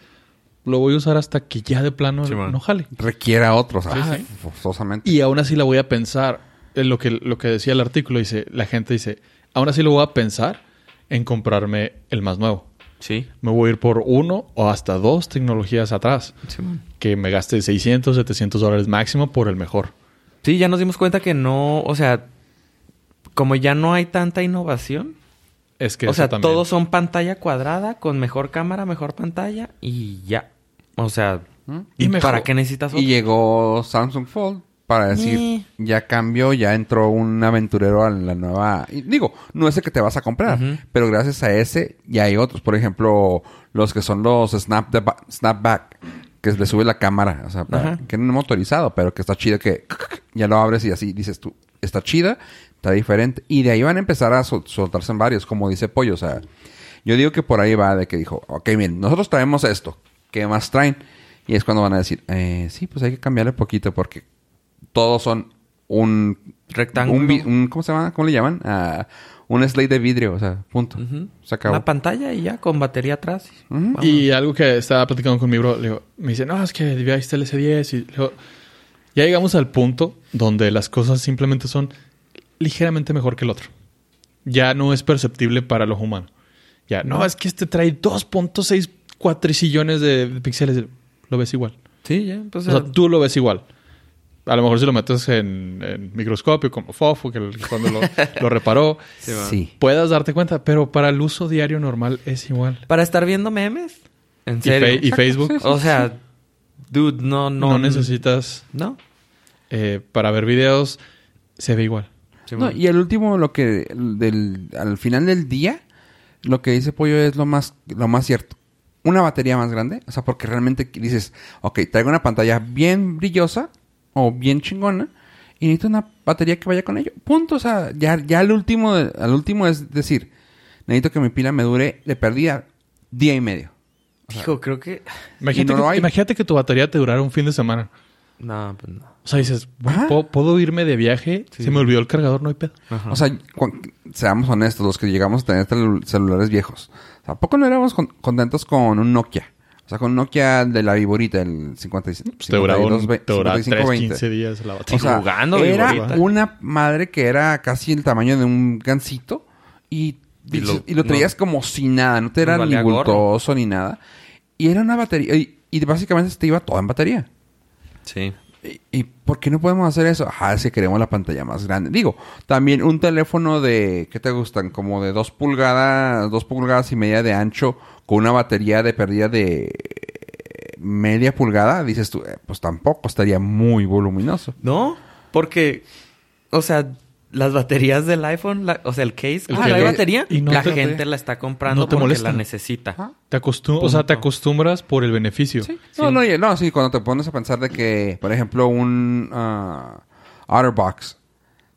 S2: lo voy a usar hasta que ya de plano
S3: Sí, man.
S2: no jale.
S1: Requiera otros, o sea,
S2: Sí, sí.
S1: forzosamente.
S2: Y aún así la voy a pensar. Eh, Lo que, lo que decía el artículo, dice, la gente dice, aún así lo voy a pensar en comprarme el más nuevo.
S3: sí.
S2: Me voy a ir por uno o hasta dos tecnologías atrás.
S3: Simón.
S2: Que me gaste 600, 700 dólares máximo por el mejor.
S3: Sí, ya nos dimos cuenta que no, o sea, como ya no hay tanta innovación,
S2: Es que
S3: o
S2: eso
S3: sea,
S2: también.
S3: todos son pantalla cuadrada, con mejor cámara, mejor pantalla y ya. O sea,
S1: ¿Mm?
S2: Y mejor-
S3: ¿para qué necesitas otra?
S1: Y llegó Samsung Fold para decir,
S3: Ni.
S1: ya cambió, ya entró un aventurero a la nueva... y Digo, no es el que te vas a comprar,
S3: Ujú.
S1: pero gracias a ese ya hay otros. Por ejemplo, los que son los snap de ba- snapback, que le sube la cámara, o sea, para-
S3: Ajá.
S1: que no es motorizado, pero que está chido, que ya lo abres y así dices tú, está chida, está diferente. Y de ahí van a empezar a sol- soltarse en varios, como dice Pollo, o sea... Yo digo que por ahí va de que dijo, ok, miren, nosotros traemos esto, ¿qué más traen? Y es cuando van a decir, eh, sí, pues hay que cambiarle poquito porque todos son un...
S3: Rectángulo.
S1: un vi- un- ¿Cómo se llama? ¿Cómo le llaman? Ah, un slate de vidrio, o sea, punto.
S3: Ujú.
S1: Se acabó.
S3: Una pantalla y ya, con batería atrás.
S1: Ujú.
S3: Vámonos.
S2: Y algo que estaba platicando con mi bro, le digo, me dice, no, es que debía irse el S10. Y le digo, ya llegamos al punto donde las cosas simplemente son ligeramente mejor que el otro. Ya no es perceptible para los humanos. Ya, no, es que este trae 2.6 cuatricillones de, de píxeles. Lo ves igual.
S3: Sí, ya. pues,
S2: O sea, tú lo ves igual. A lo mejor si lo metes en, en microscopio, como Fofo, que el- cuando lo, lo reparó,
S3: Sí, va.
S1: Sí.
S2: puedas darte cuenta, pero para el uso diario normal es igual.
S3: Para estar viendo memes. En
S2: Y, fe-
S3: serio.
S2: y Facebook
S3: O sea, dude, no, no.
S2: no necesitas
S3: No.
S2: eh, para ver videos, se ve igual.
S3: Sí,
S1: No,
S3: bueno.
S1: y el último, lo que del, al final del día, lo que dice Pollo es lo más, lo más cierto. Una batería más grande, o sea, porque realmente dices, ok, traigo una pantalla bien brillosa o bien chingona y necesito una batería que vaya con ello. Punto, o sea, ya, ya al último, al último es decir, necesito que mi pila me dure de perdida día y medio.
S3: Hijo, creo que.
S2: Imagínate,
S1: Y no lo
S2: que,
S1: hay.
S2: imagínate que tu batería te durara un fin de semana.
S3: No, pues no.
S2: O sea, dices, "Güey,
S1: Ajá.
S2: ¿puedo, puedo irme de viaje? Se me olvidó el cargador, no hay pedo.
S3: Ajá.
S1: O sea, cu- seamos honestos, los que llegamos a tener celu- celulares viejos, ¿a poco no éramos con- contentos con un Nokia? O sea, con un Nokia de la viborita, el 55,
S2: Pues te duraba, un,
S1: 52, ve-
S2: te duraba
S1: 55,
S2: 3,
S1: 20.
S2: 15 días la batería.
S1: O sea,
S3: jugando,
S1: era
S2: viborita.
S1: una madre que era casi el tamaño de un gancito y,
S3: Y lo-
S1: dices- y lo, traías
S3: no.
S1: como si nada, no te era ni
S3: Valía gorro.
S1: bultoso ni nada. Y era una batería, y, y básicamente se te iba todo en batería.
S3: sí.
S1: ¿Y- ¿Y por qué no podemos hacer eso? Ah, es que queremos la pantalla más grande. Digo, también un teléfono de, ¿qué te gustan? Como de dos pulgadas, dos pulgadas y media de ancho, con una batería de pérdida de eh, media pulgada, dices tú, eh, pues tampoco estaría muy voluminoso.
S3: No, porque. O sea, las baterías del iPhone, la- o sea, el case.
S2: El
S3: ah,
S2: que
S3: la
S2: le-
S3: batería.
S2: y no
S3: la
S2: te-
S3: gente la está comprando
S2: no te
S3: porque
S2: molesta.
S3: la necesita.
S1: Ajá.
S2: Te acostum- o sea, te acostumbras por el beneficio.
S1: pues, Sí. No, no, y- no, sí, cuando te pones a pensar de que, por ejemplo, un ah, Otterbox,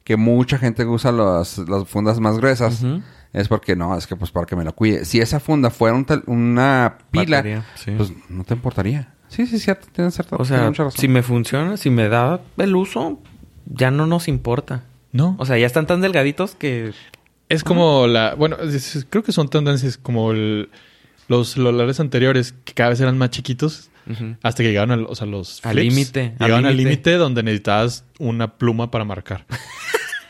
S1: que mucha gente usa las, las fundas más gruesas,
S3: Ujú.
S1: es porque no, es que pues para que me lo cuide. Si esa funda fuera un tel- una pila,
S3: Batería, sí.
S1: pues no te importaría. Sí, sí, cierto, tienes
S2: Pues,
S1: cierto.
S3: O sea,
S1: tienes mucha razón.
S3: si me funciona, si me da el uso, ya no nos importa.
S2: No.
S3: O sea, ya están tan delgaditos que.
S2: Es como la. Bueno, es- es- creo que son tendencias como el- los celulares anteriores que cada vez eran más chiquitos
S3: Ujú.
S2: hasta que llegaron al, o sea, los
S3: Al
S2: flips.
S3: límite, al
S2: Llegaron al
S3: límite.
S2: límite donde necesitabas una pluma para marcar.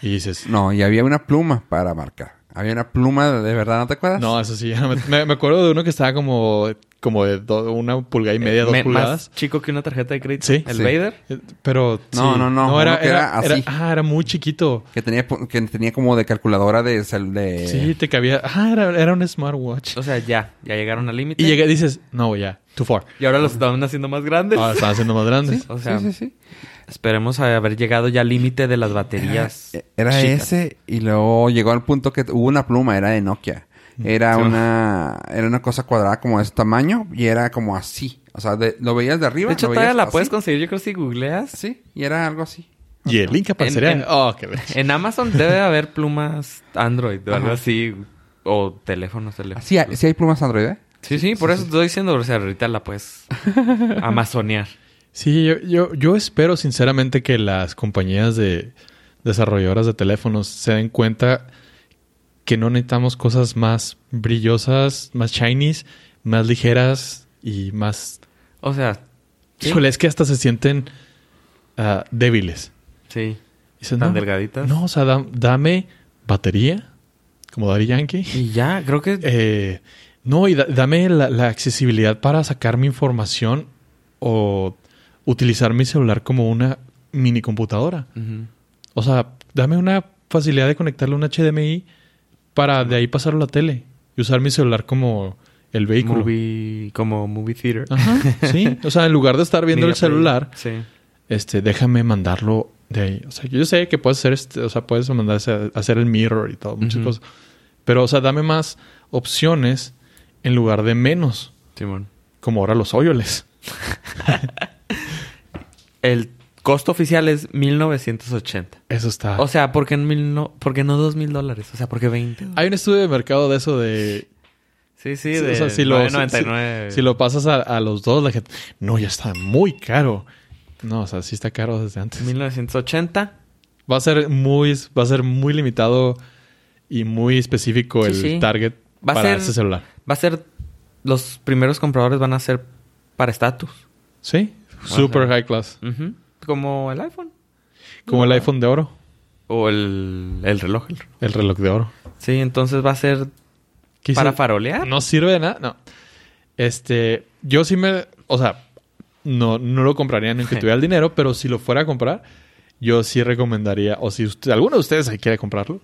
S2: y dices,
S1: No, y había una pluma para marcar. Había una pluma, de, de verdad, ¿no te acuerdas?
S2: no, eso sí. ya Me, me- me acuerdo de uno que estaba como, como de do- una
S1: Eh,
S2: pulgada y media, dos
S3: Me-
S2: pulgadas.
S3: Más chico que una tarjeta de crédito.
S2: Sí.
S3: El
S1: Sí.
S3: Vader.
S2: Eh, Pero.
S1: No,
S2: sí.
S1: no, no,
S2: era,
S1: uno que era
S2: era-
S1: así.
S2: ah, era muy chiquito.
S1: Que tenía, pu- que tenía como de calculadora de... cel- de...
S2: Sí, te cabía. Ah, era, era un smartwatch.
S3: O sea, ya, ya llegaron al límite.
S2: Y llega, dices, no, ya, too far.
S3: Y ahora los están haciendo más grandes.
S2: Ah, estaban siendo más grandes.
S3: O sea,
S1: sí, sí, sí.
S3: esperemos a haber llegado ya al límite de las baterías.
S1: E, Era, era
S3: chicas.
S1: ese y luego llegó al punto que hubo una pluma, era de Nokia. Era una era una cosa cuadrada como de este tamaño y era como así. O sea, de- lo veías de arriba.
S3: De hecho,
S1: lo
S3: todavía
S1: veías
S3: la
S1: así.
S3: puedes conseguir, yo creo, si googleas.
S1: Sí, y era algo así.
S2: Y el link aparecería.
S3: En- en-
S2: oh, qué ver-
S3: En Amazon debe haber plumas Android o algo
S1: Ajá.
S3: así. O teléfonos, teléfonos.
S1: Sí, hay, sí hay plumas Android, ¿eh?
S3: Sí, sí, por eso te estoy diciendo, o sea, ahorita la puedes amazonear.
S2: Sí, yo, yo, yo espero sinceramente que las compañías de desarrolladoras de teléfonos se den cuenta que no necesitamos cosas más brillosas, más shinies, más ligeras y más...
S3: O sea, sí,
S2: Híjole, es que hasta se sienten ah, débiles.
S3: sí.
S2: Dices,
S3: Tan
S2: no,
S3: delgaditas.
S2: No, o sea, da- dame batería, como Daddy Yankee.
S3: Y ya, creo que
S2: Eh, no, y da- dame la, la accesibilidad para sacar mi información o utilizar mi celular como una mini computadora.
S3: Ujú.
S2: O sea, dame una facilidad de conectarle un HDMI para de ahí pasarlo a la tele y usar mi celular como el vehículo.
S3: Movie, como movie theater.
S2: Ajá, sí. O sea, en lugar de estar viendo
S3: Mira,
S2: el celular,
S3: Sí.
S2: este, déjame mandarlo de ahí. O sea, yo sé que puedes hacer, este, o sea, puedes mandarse a- a hacer el mirror y todo, muchas
S3: Ujú.
S2: cosas. Pero, o sea, dame más opciones en lugar de menos,
S3: Simón.
S2: como ahora los Oyoles.
S3: El costo oficial es 1980.
S2: Eso está.
S3: O sea, ¿por qué, en mil no, ¿por qué no dos mil dólares? O sea, ¿por qué 20?
S2: Hay un estudio de mercado de eso de
S3: Sí, sí,
S2: Sí,
S3: de
S2: o sea, si lo-
S3: 99.
S2: si lo pasas a, a los dos, la gente, no, ya está muy caro. No, o sea, sí está caro desde antes.
S3: 1980.
S2: Va a ser muy, va a ser muy limitado y muy específico
S3: Sí,
S2: el
S3: sí.
S2: target
S3: Va a
S2: para
S3: ser-
S2: ese celular.
S3: Va a ser... Los primeros compradores van a ser para estatus.
S2: Sí,
S3: Va a
S2: super
S3: ser-
S2: high class.
S3: Ujú. Como el iPhone.
S2: Como el iPhone de oro,
S3: O el, el reloj. el-
S2: el reloj de oro.
S3: Sí, entonces va a ser
S2: ¿Qué
S3: para
S2: hice?
S3: farolear.
S2: No sirve de nada, no. Este, yo sí me, o sea, no, no lo compraría ni aunque tuviera el dinero, pero si lo fuera a comprar, yo sí recomendaría, o si usted- alguno de ustedes ahí quiere comprarlo,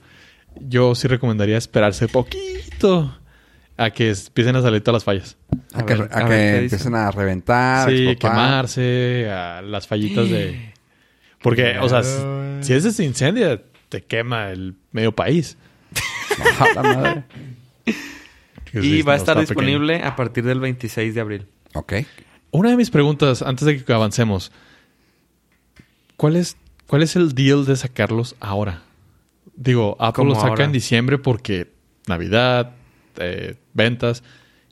S2: yo sí recomendaría esperarse poquito a que empiecen a salir todas las fallas.
S1: A,
S3: A
S1: que,
S3: ver,
S1: a
S3: a
S1: que
S3: ver, ¿qué dice?
S1: empiecen a
S3: Ah,
S1: reventar,
S2: sí,
S1: a explotar.
S2: quemarse, a las fallitas de... Porque, o sea, si, si ese se incendia, te quema el medio país.
S1: A la madre.
S3: Y
S2: Sí,
S3: va a
S2: no
S3: estar
S2: está pequeño.
S3: disponible a partir del 26 de abril.
S1: Ok.
S2: Una de mis preguntas, antes de que avancemos, ¿cuál es, cuál es el deal de sacarlos ahora? Digo, Apple
S3: ¿Cómo
S2: lo saca
S3: ahora?
S2: en diciembre porque Navidad, eh, ventas.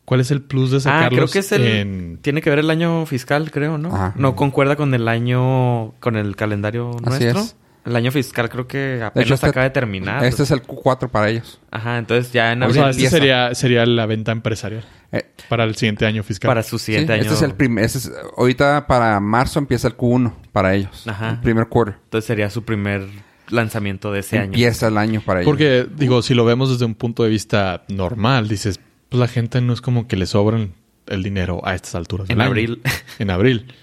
S2: ¿Cuál es el plus de
S3: Ah,
S2: sacarlos
S3: creo que es el...
S2: en...
S3: Tiene que ver el año fiscal, creo, ¿no?
S1: Ajá.
S3: No concuerda con el año... Con el calendario
S1: Así
S3: nuestro.
S1: es.
S3: El año fiscal creo que
S1: De
S3: apenas
S1: hecho, este-
S3: acaba de terminar.
S1: Este es el Q4 para ellos.
S3: Ajá, entonces ya en
S2: O
S3: abril...
S2: sea, esta
S1: empieza.
S2: sería, sería la venta empresarial
S1: Eh,
S2: para el siguiente año fiscal.
S3: para su siguiente
S1: sí,
S3: año.
S1: Este es el primer. Este es, ahorita para marzo empieza el Q1 para ellos.
S3: Ajá.
S1: El primer quarter.
S3: Entonces sería su primer lanzamiento de ese año.
S1: Empieza el año para ellos.
S2: Porque, digo, si lo vemos desde un punto de vista normal, dices, pues la gente no es como que le sobran el dinero a estas alturas. del
S3: En
S2: año.
S3: abril.
S2: En abril.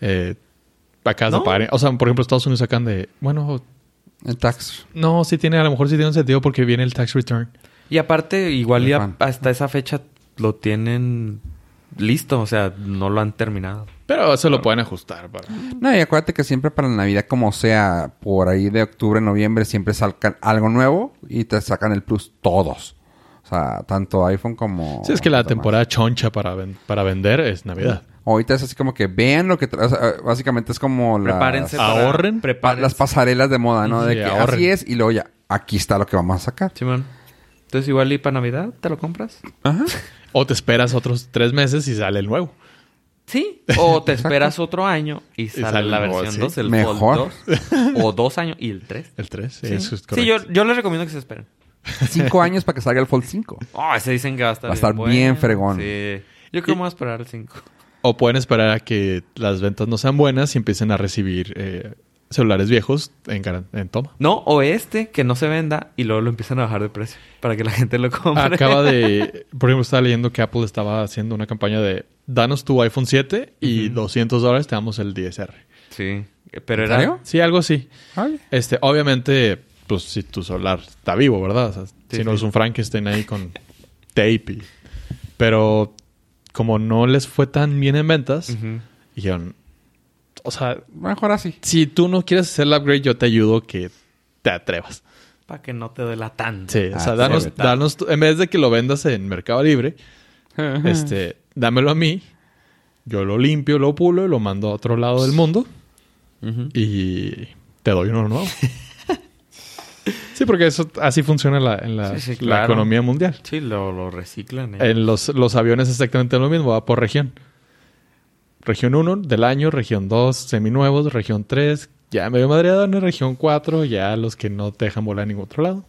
S2: Eh, acabas de
S3: ¿No?
S2: pagar. O sea, por ejemplo, Estados Unidos sacan de. Bueno,
S1: El tax.
S2: no, sí tiene, a lo mejor sí tiene un sentido porque viene el tax return.
S3: Y aparte, igual
S1: Muy
S3: ya
S1: fan.
S3: hasta esa fecha lo tienen listo. O sea, no lo han terminado.
S2: Pero eso lo pueden ajustar. para-
S1: No, y acuérdate que siempre para la Navidad, como sea, por ahí de octubre, noviembre, siempre sacan algo nuevo y te sacan el plus todos. O sea, tanto iPhone como.
S2: Sí, es que la
S1: como
S2: temporada choncha para, ven- para vender es
S1: demás.
S2: Navidad.
S1: Ahorita es así como que vean lo que. tra- o sea, básicamente es como. las-
S3: Prepárense.
S1: pa-
S3: para-
S2: Ahorren,
S3: prepárense.
S1: las pasarelas de moda, ¿no? De
S2: Sí,
S1: que
S2: ahorren.
S1: así es y luego ya. Aquí está lo que vamos a sacar.
S3: Simón. Entonces igual y para Navidad, ¿te lo compras?
S1: Ajá.
S2: O te esperas otros tres meses y sale el nuevo.
S3: Sí. O te esperas otro año y sale,
S2: sale
S3: la
S2: el nuevo,
S3: versión
S2: sí.
S3: 2, el
S1: Mejor.
S3: Fold 2. O dos años y el 3.
S2: El tres, sí,
S3: Sí,
S2: eso es
S3: Sí,
S2: correcto.
S3: yo, yo les recomiendo que se esperen.
S1: Cinco años para que salga el Fold 5.
S3: Oh, se dicen que va a estar
S1: Va a estar bien fregón.
S3: Sí. Yo creo que me voy a esperar el 5.
S2: O pueden esperar a que las ventas no sean buenas y empiecen a recibir eh, celulares viejos en, garan- en toma.
S3: No, o este que no se venda y luego lo empiezan a bajar de precio para que la gente lo compre.
S2: Acaba de, por ejemplo, estaba leyendo que Apple estaba haciendo una campaña de danos tu iPhone 7 y 200 dólares te damos el 10R.
S3: Sí. Pero
S1: ¿En
S3: era.
S1: serio?
S2: Sí, algo así. Este, obviamente, pues si tu celular está vivo, ¿verdad? O sea, si no
S3: sí.
S2: es un Frankenstein ahí con tape. y- Pero como no les fue tan bien en ventas,
S3: Ujú.
S2: dijeron, o sea,
S1: Mejor así.
S2: si tú no quieres hacer el upgrade, yo te ayudo que te atrevas.
S3: Para que no te duela tanto.
S2: Sí, o sea,
S1: Ah,
S2: danos,
S1: sí.
S2: danos tu- en vez de que lo vendas en Mercado Libre, este, dámelo a mí, yo lo limpio, lo pulo y lo mando a otro lado del mundo
S3: Ujú.
S2: y te doy uno nuevo. sí, porque eso así funciona la, en la,
S3: Sí, sí,
S2: la
S3: claro.
S2: economía mundial.
S3: Sí, lo, lo reciclan. ¿eh?
S2: En los, los aviones es exactamente lo mismo, va por región. Región 1 del año, región 2 seminuevos, región 3 ya medio madreadones, región 4 ya los que no te dejan volar a ningún otro lado.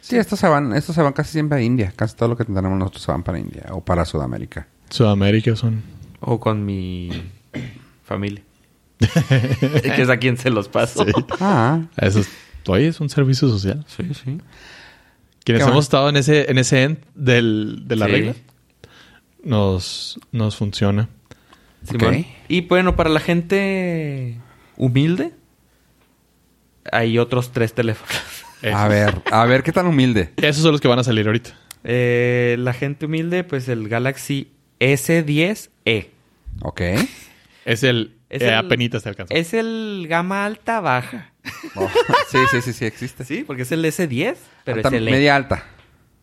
S1: Sí, estos se van, estos se van casi siempre a India. Casi todo lo que tenemos nosotros se van para India o para Sudamérica.
S2: Sudamérica son
S3: O con mi familia. que es a quien se los paso.
S1: Ah,
S2: Eso es, oye, es un servicio social.
S3: Sí, sí.
S2: Quienes
S1: Qué bueno.
S2: hemos estado en ese, en ese end del, de la
S3: Sí.
S2: regla, nos, nos funciona.
S3: Simón.
S1: Ok.
S3: Y bueno, para la gente humilde, hay otros tres teléfonos.
S2: Esos.
S1: A ver, a ver qué tan humilde.
S2: Esos son los que van a salir ahorita.
S3: Eh, la gente humilde, pues el Galaxy E. S10e.
S1: Ok.
S2: Es el...
S3: Es
S2: eh,
S3: el-
S2: Apenitas te alcanzó.
S3: Es el gama alta baja.
S1: Oh, sí, sí, sí, sí, existe.
S3: Sí, porque es el S10, pero
S1: Alta-
S3: es el E.
S1: Media alta.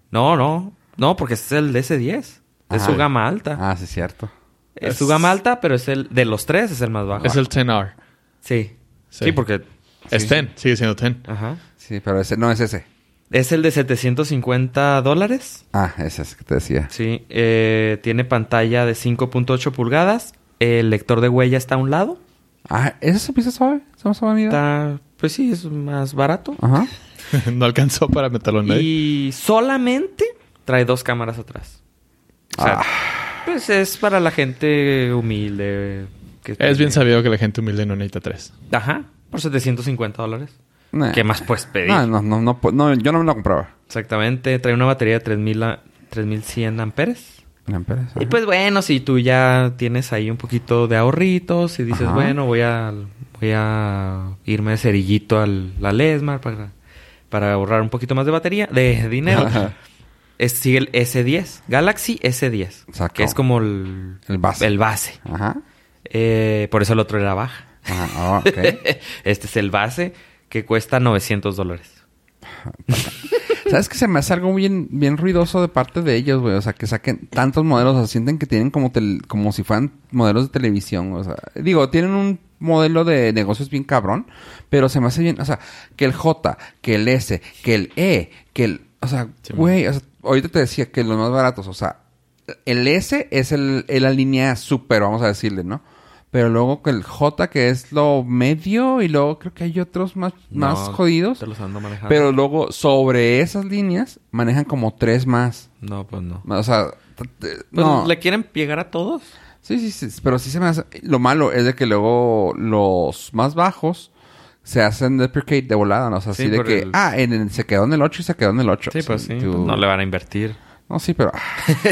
S3: No, no. No, porque es el S10. Es
S1: Ajá.
S3: su gama alta.
S1: Ah, sí, cierto.
S3: es, su gama alta, pero es el de los tres es el más bajo.
S2: Es el 10R.
S3: Sí.
S2: Sí.
S3: Sí, porque
S2: Es 10. Sigue siendo 10.
S3: ajá.
S1: Sí, pero ese no es ese.
S3: Es el de 750 dólares.
S1: Ah, ese es que te decía.
S3: Sí. eh, tiene pantalla de 5.8 pulgadas. El lector de huella está a un lado.
S1: Ah, ¿eso se pisa suave? ¿Se me suave, mira?
S3: Está, pues sí, es más barato.
S2: Ah,
S1: Ajá.
S2: no alcanzó para meterlo en medio.
S3: Y solamente trae dos cámaras atrás. O sea,
S2: Ah.
S3: pues es para la gente humilde. que
S2: Es bien
S3: tiene-
S2: sabido que la gente humilde no necesita 3.
S3: Ajá, por 750 dólares.
S2: Ah.
S1: Nah.
S3: ¿Qué más puedes pedir?
S1: No, no, no, no, pu- no, yo no me lo compraba.
S3: Exactamente, trae una batería de 3000 a- 3100 amperes.
S1: La empresa.
S3: Y pues bueno, si tú ya tienes ahí un poquito de ahorritos y dices,
S1: Ajá.
S3: bueno, voy a, voy a irme de cerillito al, la Lesmar para, para ahorrar un poquito más de batería, de dinero.
S1: Ajá.
S3: es, sigue el S10, Galaxy S10,
S1: Exacto.
S3: que es como el,
S1: El base.
S3: el base.
S1: Ajá.
S3: Eh, por eso el otro era baja.
S1: Ajá. ah, ok.
S3: este es el base que cuesta 900 dólares.
S1: ¿Sabes que se me hace algo bien, bien ruidoso de parte de ellos, güey? O sea, que saquen tantos modelos, o sea, sienten que tienen como, tel- como si fueran modelos de televisión, o sea, digo, tienen un modelo de negocios bien cabrón, pero se me hace bien, o sea, que el J, que el S, que el E, que el, o sea,
S2: Sí,
S1: güey, o sea, ahorita te decía que los más baratos, o sea, el S es el, es la línea super, vamos a decirle, ¿no? Pero luego que el J, que es lo medio, y luego creo que hay otros más, más
S3: No,
S1: jodidos.
S3: Te los ando manejando.
S1: Pero luego, sobre esas líneas, manejan como tres más.
S3: No, pues no.
S1: O sea, t- t-
S3: Pues,
S1: no.
S3: ¿Le quieren llegar a todos?
S1: Sí, sí, sí. Pero sí se me hace... Lo malo es de que luego los más bajos se hacen deprecate de volada, ¿no? O sea,
S3: Sí,
S1: así de
S3: por
S1: que...
S3: el-
S1: Ah, en el- se quedó en el 8 y se quedó en el 8.
S3: Sí, pues sí.
S1: tú-
S3: No le van a invertir.
S1: No, sí, pero... ah.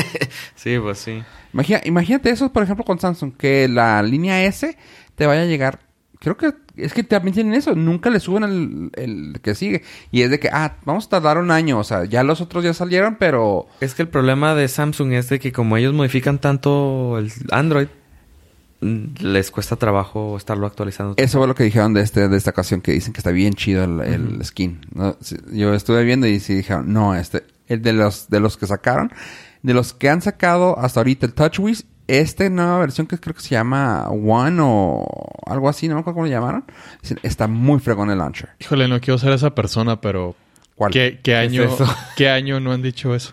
S3: sí, pues sí.
S1: Imagina- imagínate eso, por ejemplo, con Samsung. Que la línea S te vaya a llegar... Creo que... Es que también tienen eso. Nunca le suben el, el que sigue. Y es de que... Ah, vamos a tardar un año. O sea, ya los otros ya salieron, pero...
S3: Es que el problema de Samsung es de que como ellos modifican tanto el Android, mm, les cuesta trabajo estarlo actualizando.
S1: Eso fue lo que dijeron de, este, de esta ocasión, que dicen que está bien chido el, el skin. ¿no? Sí, Yo estuve viendo y sí dijeron, no, este, el de los, de los que sacaron, de los que han sacado hasta ahorita el TouchWiz, esta nueva versión que creo que se llama One o algo así, no me acuerdo cómo lo llamaron, dicen, está muy fregón el launcher.
S2: Híjole, no quiero ser esa persona, pero...
S1: ¿Cuál?
S2: ¿Qué, qué
S3: es
S2: año,
S3: eso?
S2: ¿Qué año no han dicho eso?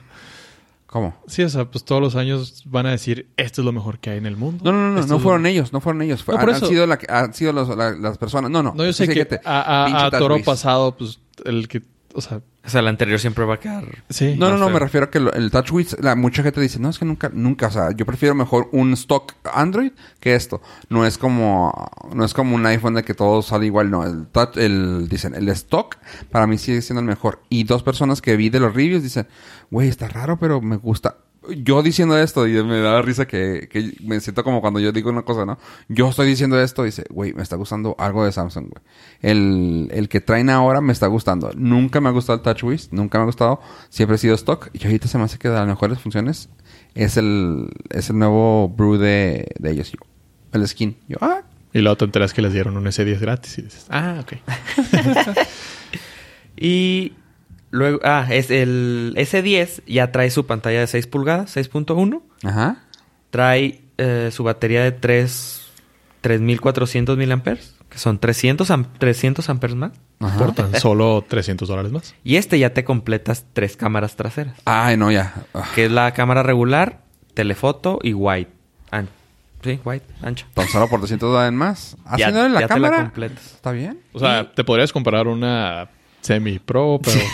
S1: ¿Cómo?
S2: Sí, o sea, pues todos los años van a decir, esto es lo mejor que hay en el mundo.
S1: No, no, no, no,
S2: Esto es lo-
S1: fueron ellos, no fueron ellos. fue-
S2: No, por
S1: han, han
S2: eso-
S1: sido, la que- han sido los- la- las personas. No, no.
S2: No, yo sé
S1: sí,
S2: que
S1: fíjate,
S2: a, a-
S1: pinche
S2: a toro
S1: TouchWiz.
S2: pasado, pues el que, o sea,
S3: O sea, el anterior siempre va a quedar.
S2: sí.
S1: No, no, no,
S3: sé.
S1: me refiero a que lo- el TouchWiz, la mucha gente dice, no, es que nunca, nunca, o sea, yo prefiero mejor un stock Android que esto. No es como, no es como un iPhone de que todo sale igual, no, el, touch- el dicen, el stock para mí sigue siendo el mejor. Y dos personas que vi de los reviews dicen, güey, está raro, pero me gusta. Yo diciendo esto, y me da risa que, que me siento como cuando yo digo una cosa, ¿no? Yo estoy diciendo esto, dice, güey, me está gustando algo de Samsung, güey. El, el que traen ahora me está gustando. Nunca me ha gustado el TouchWiz, nunca me ha gustado. Siempre he sido stock. Y ahorita se me hace que de las mejores funciones es el, es el nuevo brew de, de ellos. Yo, el skin. Yo, ah,
S2: Y luego te enteras que les dieron un S10 gratis y dices, ah, ok.
S3: Y luego, ah, es el S10 ya trae su pantalla de 6 pulgadas, 6.1.
S1: ajá.
S3: Trae eh, su batería de 3, 3400 miliamperes, que son 300, am- 300 amperes más.
S1: Ajá.
S2: Por tan solo 300 dólares más.
S3: Y este ya te completas tres cámaras traseras,
S1: Ay, no, ya. Ah,
S3: que es la cámara regular, telefoto y wide. An- sí, wide, ancha.
S1: Tan solo por 200 dólares más. Haciéndole la
S3: ya te la
S1: cámara.
S3: completas.
S1: ¿Está bien?
S2: O sea, te podrías comprar una semi-pro, pero... pues,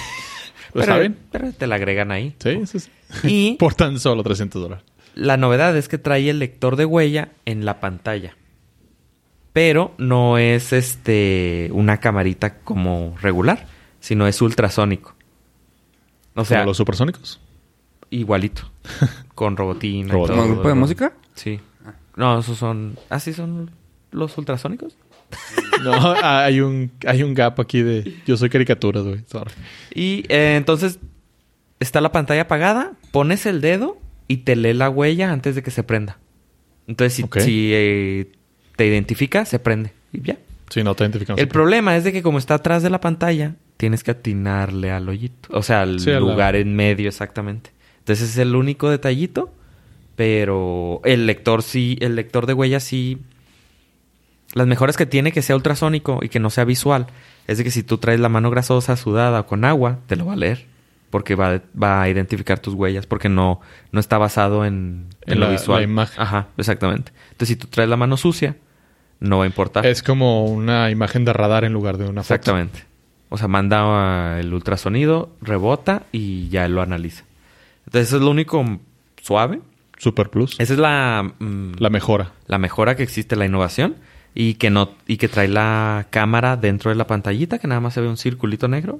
S3: Pero,
S2: ¿Está bien?
S3: Pues pero te la agregan ahí.
S2: Sí, eso es-
S3: Y
S2: Por tan solo 300 dólares.
S3: La novedad es que trae el lector de huella en la pantalla. Pero no es este una camarita como regular, sino es ultrasónico. O
S2: O sea,
S3: sea,
S2: los supersónicos.
S3: igualito. Con robotina. y
S2: Robot.
S3: todo.
S1: ¿Como grupo de música?
S3: Sí. No, esos son. ¿Ah, sí son los ultrasónicos?
S2: No, ah, hay un, hay un gap aquí de... Yo soy caricaturas, güey. Sorry.
S3: Y eh, entonces está la pantalla apagada, pones el dedo y te lee la huella antes de que se prenda. Entonces, si,
S2: Ok.
S3: si, eh, te identifica, se prende. Y ya.
S2: Sí, no te identificamos.
S3: el problema es de que como está atrás de la pantalla, tienes que atinarle al hoyito. O sea, al
S2: Sí, a la-
S3: lugar en medio exactamente. Entonces es el único detallito, pero el lector sí, el lector de huellas sí... Las mejoras que tiene que sea ultrasónico y que no sea visual es de que si tú traes la mano grasosa, sudada o con agua, te lo va a leer. Porque va, va a identificar tus huellas, porque no, no está basado en, en
S2: En
S3: lo
S2: la-
S3: visual.
S2: la imagen.
S3: Ajá, exactamente. Entonces, si tú traes la mano sucia, no va a importar.
S2: Es como una imagen de radar en lugar de una foto.
S3: Ah. Exactamente. O sea, manda ah, el ultrasonido, rebota y ya lo analiza. Entonces, eso es lo único suave.
S2: Super plus.
S3: Esa es la, mm,
S2: La mejora.
S3: la mejora que existe, la innovación. Y que, no, y que trae la cámara dentro de la pantallita, que nada más se ve un circulito negro.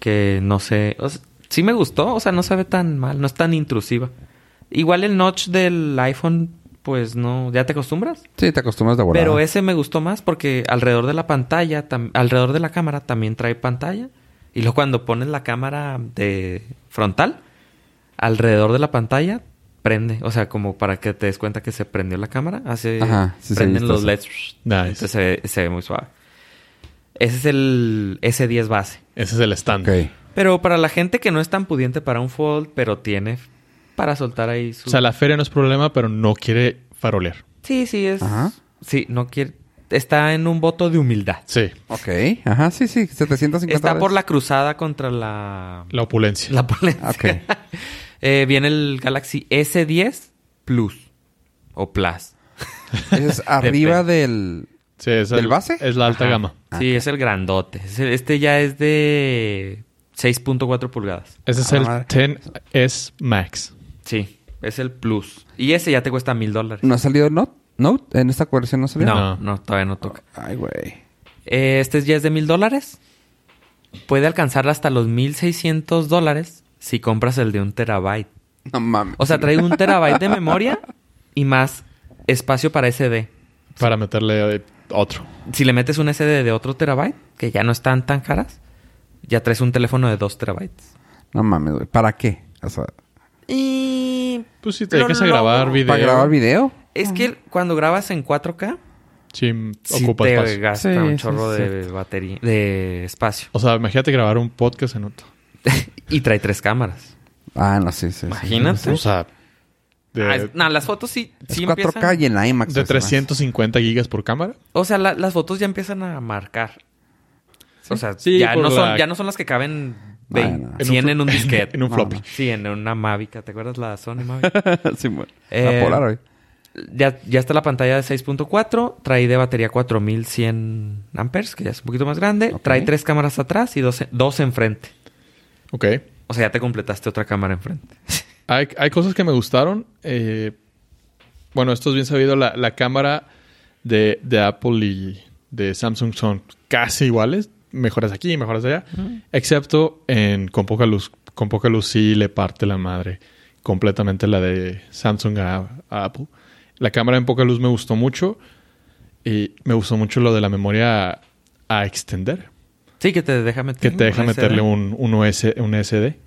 S3: Que no sé... o sea, sí me gustó, o sea, no se ve tan mal, no es tan intrusiva. Igual el notch del iPhone, pues no... ¿Ya te acostumbras?
S1: Sí, te acostumbras de volada.
S3: Pero ese me gustó más porque alrededor de la pantalla, tam- alrededor de la cámara también trae pantalla. Y luego cuando pones la cámara de frontal, alrededor de la pantalla prende. O sea, como para que te des cuenta que se prendió la cámara. Hace,
S1: Ajá, sí, sí, he
S3: prenden
S1: visto
S3: los
S1: eso.
S3: LEDs.
S2: Nice.
S3: Entonces se ve, se ve muy suave. Ese es el S10 base.
S2: Ese es el stand.
S1: Ok.
S3: Pero para la gente que no es tan pudiente para un fold, pero tiene para soltar ahí su...
S2: O sea, la feria no es problema, pero no quiere farolear.
S3: Sí, sí, es...
S1: Ajá.
S3: Sí, no quiere... Está en un voto de humildad.
S2: Sí.
S1: Ok. Ajá, sí, sí. 750
S3: Está por
S1: dólares.
S3: la cruzada contra la...
S2: La opulencia.
S3: La polencia. Eh, viene el Galaxy S10 Plus. O Plus.
S1: Es arriba del...
S2: Sí, es
S1: ¿Del
S2: el-
S1: base?
S2: Es la alta
S3: Ajá.
S2: gama.
S1: Ah,
S3: Sí, es el grandote. Es el- Este ya es de 6.4 pulgadas.
S2: Ese es
S1: A la
S2: el
S1: madre.
S2: 10S Max.
S3: Sí, es el Plus. Y ese ya te cuesta mil dólares.
S1: ¿No ha salido Note? ¿Note? ¿En esta versión no salió?
S3: No,
S2: No.
S3: no, todavía no toca.
S1: Ay, güey.
S3: Eh, este ya es de mil dólares. Puede alcanzar hasta los 1600 dólares si compras el de un terabyte.
S1: No mames.
S3: O sea, trae un terabyte de memoria y más espacio para SD.
S2: Para meterle eh, otro.
S3: si le metes un SD de otro terabyte, que ya no están tan caras, ya traes un teléfono de dos terabytes.
S1: No mames, güey. ¿Para qué? O sea,
S3: Y
S2: Pues si te
S3: Pero
S2: dedicas a
S3: no.
S2: grabar video.
S1: ¿Para grabar video?
S3: es que cuando grabas en 4K,
S2: Sí,
S3: sí
S2: ocupa
S3: te
S2: espacio.
S3: gasta
S1: Sí,
S3: un
S1: sí,
S3: chorro
S1: es
S3: de batería, de espacio.
S2: O sea, imagínate grabar un podcast en otro.
S3: y trae tres cámaras.
S1: Ah, no, sí, sí. sí.
S3: Imagínate.
S2: O sea, de,
S3: Ah, es- no, las fotos sí,
S1: Es
S3: sí
S1: 4K
S3: empiezan-
S1: y en IMAX.
S2: de
S1: o sea, más.
S2: 350 gigas por cámara.
S3: O sea, la- las fotos ya empiezan a marcar. O sea,
S2: Sí,
S3: ya,
S2: por
S3: no son,
S2: la-
S3: ya no son las que caben
S1: No,
S3: vein-
S1: no. En
S2: un
S3: 100 en
S2: fl-
S3: un disquete.
S2: en un
S1: No,
S2: floppy.
S1: no.
S3: Sí, en una Mavic. ¿Te acuerdas la Sony Mavic?
S1: sí, bueno.
S3: Eh,
S1: La Polaroid.
S3: Ya, ya está la pantalla de 6.4, trae de batería 4100 amperes, que ya es un poquito más grande,
S1: Ok.
S3: trae tres cámaras atrás y dos, en- dos enfrente.
S2: Ok.
S3: O sea, ya te completaste otra cámara enfrente.
S2: Hay, hay cosas que me gustaron. eh, bueno, esto es bien sabido. La, la cámara de, de Apple y de Samsung son casi iguales. Mejoras aquí, mejoras allá. Excepto en con poca luz. Con poca luz sí le parte la madre completamente la de Samsung a, a Apple. La cámara en poca luz me gustó mucho. Y me gustó mucho lo de la memoria a extender.
S3: Sí, que te deja meter.
S2: Que te deja meterle un, un, OS un SD.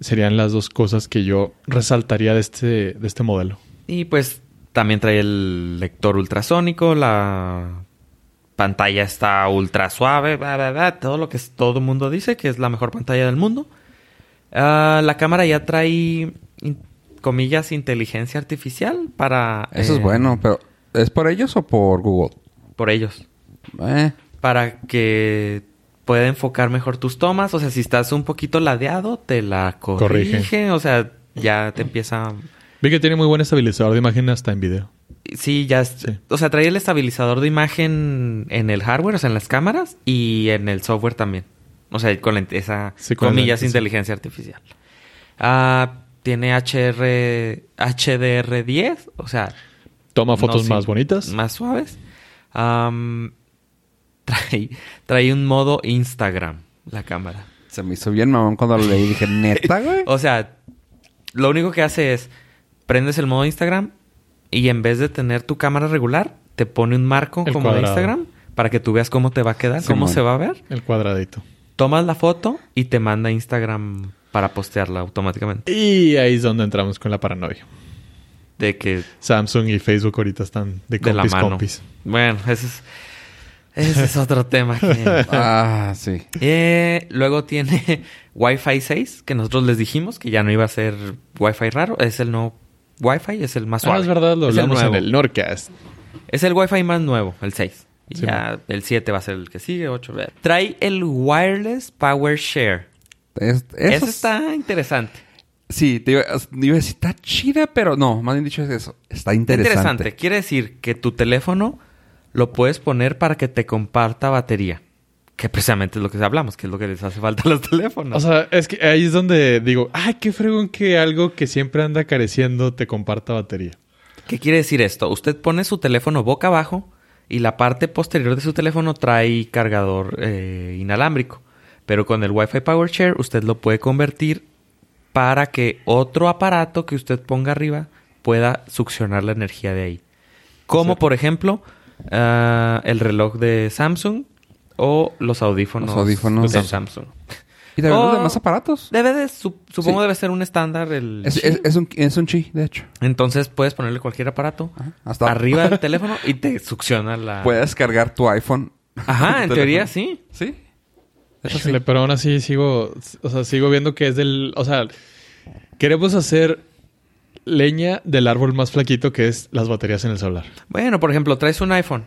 S2: Serían las dos cosas que yo resaltaría de este, de este modelo.
S3: Y pues también trae el lector ultrasónico, la pantalla está ultra suave, bla, bla, bla, todo lo que es- todo el mundo dice que es la mejor pantalla del mundo. Ah, la cámara ya trae, in- comillas, inteligencia artificial para...
S1: Eso
S3: eh,
S1: es bueno, pero ¿es por ellos o por Google?
S3: Por ellos.
S1: Eh,
S3: para que pueda enfocar mejor tus tomas. O sea, si estás un poquito ladeado, te la corrige.
S2: Corrige.
S3: O sea, ya te empieza.
S2: Vi que tiene muy buen estabilizador de imagen hasta en video.
S3: Sí, ya. es-
S2: Sí.
S3: O sea, trae el estabilizador de imagen en el hardware, o sea, en las cámaras y en el software también. O sea, con la int- esa
S2: Sí, con la
S3: comillas
S2: int- sí.
S3: inteligencia artificial. Ah, tiene HR, HDR10, o sea,
S2: Toma
S3: No,
S2: fotos
S3: sí.
S2: más bonitas.
S3: Más suaves. Am, trae, trae un modo Instagram la cámara.
S1: se me hizo bien mamón cuando lo leí. Dije, ¿neta, güey?
S3: O sea, lo único que hace es prendes el modo Instagram y en vez de tener tu cámara regular, te pone un marco
S2: El
S3: como de
S2: cuadrado.
S3: Instagram para que tú veas cómo te va a quedar, cómo
S1: Simón.
S3: se va a ver.
S2: El cuadradito.
S3: Tomas la foto y te manda a Instagram para postearla automáticamente.
S2: Y ahí es donde entramos con la paranoia.
S3: De que
S2: Samsung y Facebook ahorita están de
S3: de
S2: compis,
S3: la mano.
S2: compis.
S3: Bueno, ese es, ese es otro tema. Que,
S1: Ah, sí.
S3: Eh, luego tiene Wi-Fi 6, que nosotros les dijimos que ya no iba a ser Wi-Fi raro. Es el nuevo Wi-Fi, es el más
S2: Ah,
S3: suave.
S2: es verdad, lo
S3: Es el
S2: hablamos en
S3: nuevo.
S2: el Nordcast.
S3: Es el Wi-Fi más nuevo, el 6. Y
S2: Sí.
S3: ya el 7 va a ser el que sigue, 8. eh. Trae el Wireless Power Share.
S1: Es-
S3: Eso,
S1: eso es-
S3: está interesante.
S1: Sí, te iba, es- iba a decir, está chida, pero no, más bien dicho es eso. Está interesante.
S3: interesante. Quiere decir que tu teléfono lo puedes poner para que te comparta batería. Que precisamente es lo que hablamos, que es lo que les hace falta a los teléfonos.
S2: O sea, es que ahí es donde digo, ay, qué fregón que algo que siempre anda careciendo te comparta batería.
S3: ¿Qué quiere decir esto? Usted pone su teléfono boca abajo y la parte posterior de su teléfono trae cargador eh, inalámbrico. Pero con el Wi-Fi Power Share usted lo puede convertir para que otro aparato que usted ponga arriba pueda succionar la energía de ahí. Como
S2: Sí.
S3: por ejemplo ah, el reloj de Samsung o los audífonos,
S1: Los audífonos.
S3: de
S1: Los
S3: Samsung.
S1: Y también
S3: Oh.
S1: los demás aparatos.
S3: Debe de, su- supongo
S1: Sí.
S3: debe ser un estándar el...
S1: Es, es- es un, es un chi, de hecho.
S3: Entonces puedes ponerle cualquier aparato
S1: Ajá, hasta-
S3: arriba del teléfono y te succiona la.
S1: Puedes cargar tu iPhone.
S3: Ajá, en
S1: Tu
S3: teoría
S1: teléfono.
S3: sí.
S1: Sí. Eso sí.
S2: Híjole, pero aún así sigo, o sea, sigo viendo que es del, o sea, queremos hacer leña del árbol más flaquito que es las baterías en el celular.
S3: Bueno, por ejemplo, traes un iPhone,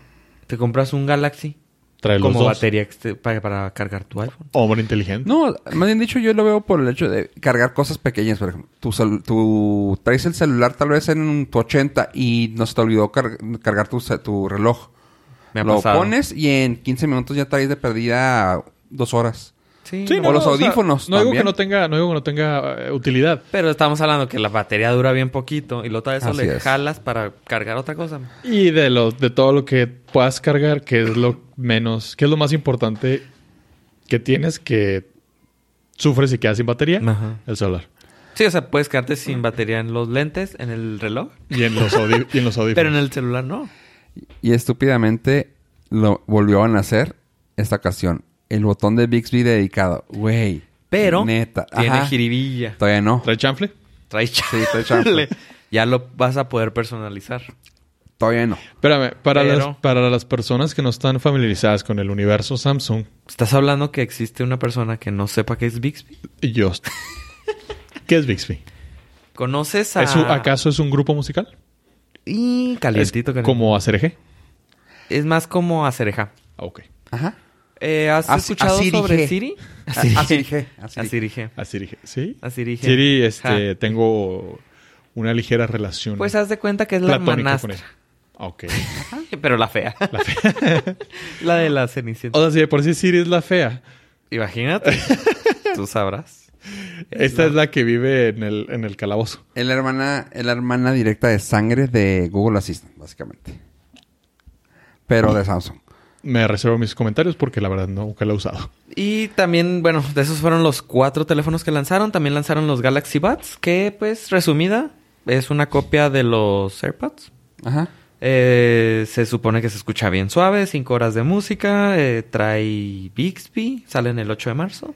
S3: te compras un Galaxy
S2: Trae los
S3: como
S2: dos.
S3: batería exte- para, para cargar tu iPhone.
S2: Hombre inteligente.
S1: No, más bien dicho, yo lo veo por el hecho de cargar cosas pequeñas. Por ejemplo, tu, cel- tu- traes el celular tal vez en tu 80 y no se te olvidó car- cargar tu, ce- tu reloj.
S3: Me ha
S1: lo
S3: pasado.
S1: pones y en 15 minutos ya traes de perdida dos horas.
S3: Sí,
S2: Sí,
S3: no,
S1: o los audífonos
S2: no digo
S1: también.
S2: que no tenga, no digo que no tenga eh, utilidad.
S3: Pero estamos hablando que la batería dura bien poquito y lo otra eso
S1: Así
S3: le
S1: es.
S3: jalas para cargar otra cosa.
S2: Y de lo, de todo lo que puedas cargar, que es lo menos, que es lo más importante que tienes que sufres y quedas sin batería,
S3: Ajá.
S2: el celular.
S3: Sí, o sea, puedes quedarte sin batería en los lentes, en el reloj,
S2: Y en los, audi- y en los audífonos.
S3: pero en el celular no.
S1: Y estúpidamente lo volvió a nacer esta ocasión. El botón de Bixby dedicado. Güey.
S3: Pero
S1: Neta.
S3: tiene
S1: Ajá.
S3: jiribilla.
S1: Todavía no.
S2: ¿Trae chanfle?
S3: Trae
S1: trae chanfle.
S3: ya lo vas a poder personalizar.
S1: Todavía no.
S2: Espérame, para,
S3: Pero-
S2: las, para las personas que no están familiarizadas con el universo Samsung,
S3: ¿Estás hablando que existe una persona que no sepa qué es Bixby?
S2: yo... ¿Qué es Bixby?
S3: ¿Conoces a...?
S2: ¿Es un- ¿Acaso es un grupo musical?
S3: Y calientito,
S2: ¿Es
S3: calientito.
S2: como ACRG?
S3: Es más como acereja.
S2: Ah, ok.
S1: Ajá.
S3: Eh, ¿Has
S1: As-
S3: escuchado
S1: Asirige.
S3: sobre Siri?
S1: A- Asirige, Asirige.
S3: Asirige.
S2: ACRG. ¿Sí?
S3: Asirige.
S2: Siri, este,
S3: Ja.
S2: tengo una ligera relación.
S3: Pues haz de cuenta que es la
S2: platónica con
S3: manastra.
S2: él. Ah, ok.
S3: Ay, Pero la fea. La la de la cenicienta.
S2: O sea, si de por sí Siri es la fea,
S3: Imagínate. Tú sabrás.
S2: esta es la que vive en el, en el calabozo.
S1: Es la hermana, es la hermana directa de sangre de Google Assistant, básicamente. Pero de Samsung.
S2: Me reservo mis comentarios porque la verdad nunca la he usado.
S3: Y también, bueno, de esos fueron los cuatro teléfonos que lanzaron. También lanzaron los Galaxy Buds, que pues resumida es una copia de los AirPods.
S1: Ajá.
S3: Eh, se supone que se escucha bien suave, 5 horas de música, eh, trae Bixby, salen el 8 de marzo.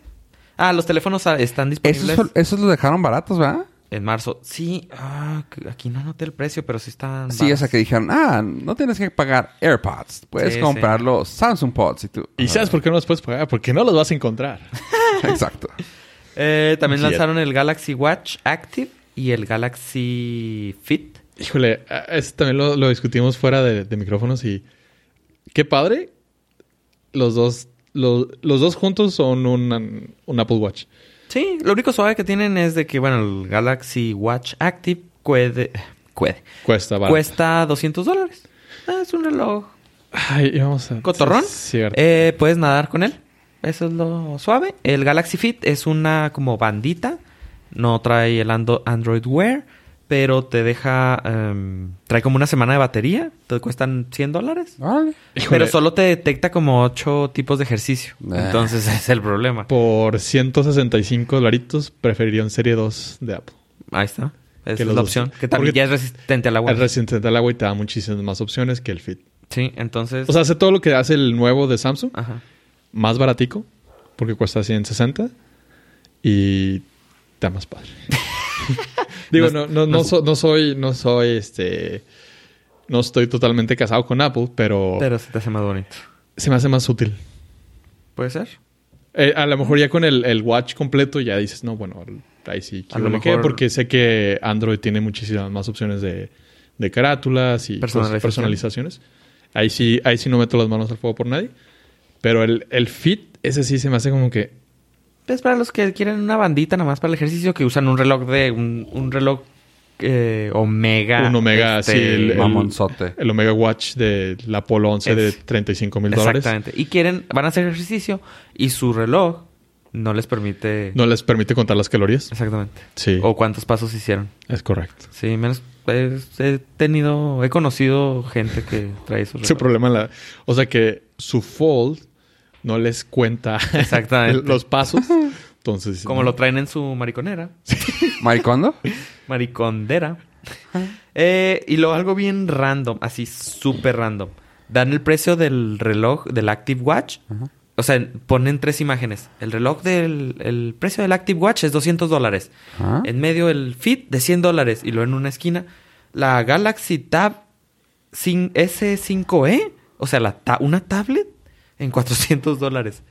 S3: Ah, los teléfonos ah, están disponibles
S1: Esos, fue- esos los dejaron baratos, ¿verdad?
S3: en marzo. Sí, ah, que- aquí no noté el precio, pero sí están...
S1: Sí, o sea
S3: baratos.
S1: que dijeron, ah, no tienes que pagar AirPods. Puedes
S3: Sí,
S1: comprar los Samsung Pods y tú.
S2: ¿Y sabes por qué no los puedes pagar? Porque no los vas a encontrar.
S1: Exacto.
S3: Eh, también
S2: Jet.
S3: lanzaron el Galaxy Watch Active y el Galaxy Fit.
S2: Híjole, a- eso también lo, lo discutimos fuera de, de micrófonos y... Qué padre. Los dos, lo- los dos juntos son un, un Apple Watch.
S3: Sí, lo único suave que tienen es de que, bueno, el Galaxy Watch Active cuede- cuede-
S2: Cuesta barato.
S3: cuesta 200 dólares. Ah, es un reloj
S2: Ay, y vamos a...
S3: cotorrón.
S2: Sí, cierto.
S3: Eh, puedes nadar con él. Eso es lo suave. El Galaxy Fit es una como bandita. No trae el ando- Android Wear, pero te deja... em, trae como una semana de batería. Te cuestan 100 dólares.
S1: Vale.
S2: Híjole,
S3: Pero solo te detecta como 8 tipos de ejercicio.
S1: Ah.
S3: Entonces ese es el problema.
S2: Por 165 dolaritos preferiría un Serie 2 de Apple.
S3: Ahí está. Esa
S2: Que
S3: es
S2: los
S3: la
S2: dos-
S3: opción. Que también
S2: porque-
S3: ya es resistente al agua.
S2: El resistente al agua y te da muchísimas más opciones que el Fit.
S3: Sí, entonces.
S2: O sea, hace todo lo que hace el nuevo de Samsung,
S3: ajá.
S2: más baratico, porque cuesta 160 y está más padre. Digo, no, no, no, so- no soy, no soy, este, no estoy totalmente casado con Apple, pero,
S3: Pero se te hace más bonito.
S2: se me hace más útil.
S3: Puede ser.
S2: Eh, a lo mejor ya con el, el watch completo ya dices, no, bueno, ahí sí,
S3: A lo
S2: quiero que,
S3: mejor-
S2: porque sé que Android tiene muchísimas más opciones de, de carátulas y cosas-
S3: Personalización.
S2: personalizaciones. Ahí sí, ahí sí no meto las manos al fuego por nadie. Pero el, el fit, ese sí se me hace como que...
S3: Es para los que quieren una bandita nada más para el ejercicio, que usan un reloj de. Un, un reloj eh, Omega. este,
S2: Un Omega, sí, el-
S1: Mamonzote.
S2: El Omega Watch de la Polo 11 de
S3: Es-
S2: 35 mil dólares
S3: Exactamente. Y quieren. Van a hacer ejercicio y su reloj no les permite.
S2: no les permite contar las calorías.
S3: Exactamente.
S2: Sí,
S3: O cuántos pasos hicieron.
S2: es correcto.
S3: Sí, menos. es- he tenido. He conocido gente que trae su reloj.
S2: Su problema en la... O sea que su fold no les cuenta
S3: Exactamente.
S2: los pasos. Entonces...
S3: Como lo traen en su mariconera.
S1: ¿Maricondo?
S3: Maricondera. Eh, y luego algo bien random, así súper random. Dan el precio del reloj, del Active Watch. O sea, ponen tres imágenes. El reloj del... El precio del Active Watch es 200 dólares.
S1: Ajá.
S3: En medio el Fit de 100 dólares. Y luego en una esquina la Galaxy Tab sin- S5e. O sea, la ta- una tablet en 400 dólares.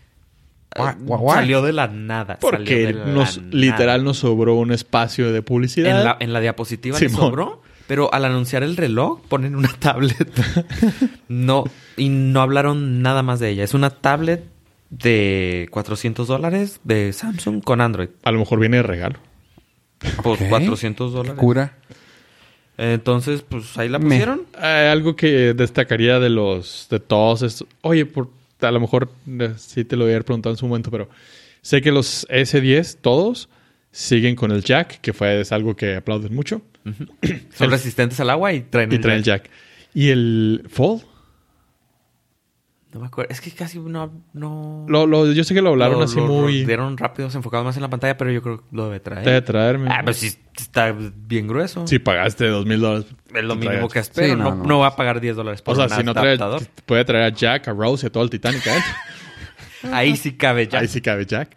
S1: Guau,
S3: Ah,
S1: guau, guau.
S3: Salió de la nada. salió de
S2: Porque
S3: la
S2: nos,
S3: nada.
S2: literal nos sobró un espacio de publicidad.
S3: En la, en la diapositiva le
S2: Simón.
S3: sobró, pero al anunciar el reloj ponen una tablet. no, y no hablaron nada más de ella. Es una tablet de 400 dólares de Samsung con Android.
S2: A lo mejor viene de regalo.
S3: Por
S1: Ok.
S3: 400
S1: ¿Qué
S3: dólares.
S1: Cura.
S3: Entonces, pues ahí la
S1: Me.
S3: pusieron.
S2: Eh, algo que destacaría de los de todos estos. Oye, por, a lo mejor eh, sí te lo voy a haber preguntado en su momento, pero sé que los S10, todos, siguen con el jack, que fue es algo que aplauden mucho,
S3: Son
S2: El-
S3: resistentes al agua y traen,
S2: y
S3: el
S2: traen el
S3: jack.
S2: jack. Y el fold,
S3: No me acuerdo. Es que casi no... no...
S2: lo, lo- yo sé que lo hablaron
S3: lo-
S2: así
S3: lo- lo
S2: muy...
S3: dieron rápido, se enfocaron más en la pantalla, pero yo creo que lo debe traer.
S2: Te de traerme.
S3: Ah, pero sí está bien grueso.
S2: Si pagaste dos mil dólares.
S3: Es lo
S2: te
S3: mínimo
S2: traías.
S3: que espero.
S1: Sí, no,
S3: no,
S1: no.
S3: no va a pagar 10 dólares por
S2: O sea,
S3: un
S2: si no trae,
S3: adaptador.
S2: puede traer a Jack, a Rose y a todo el Titanic. ¿eh?
S3: Ahí sí cabe ya.
S2: Ahí sí cabe Jack.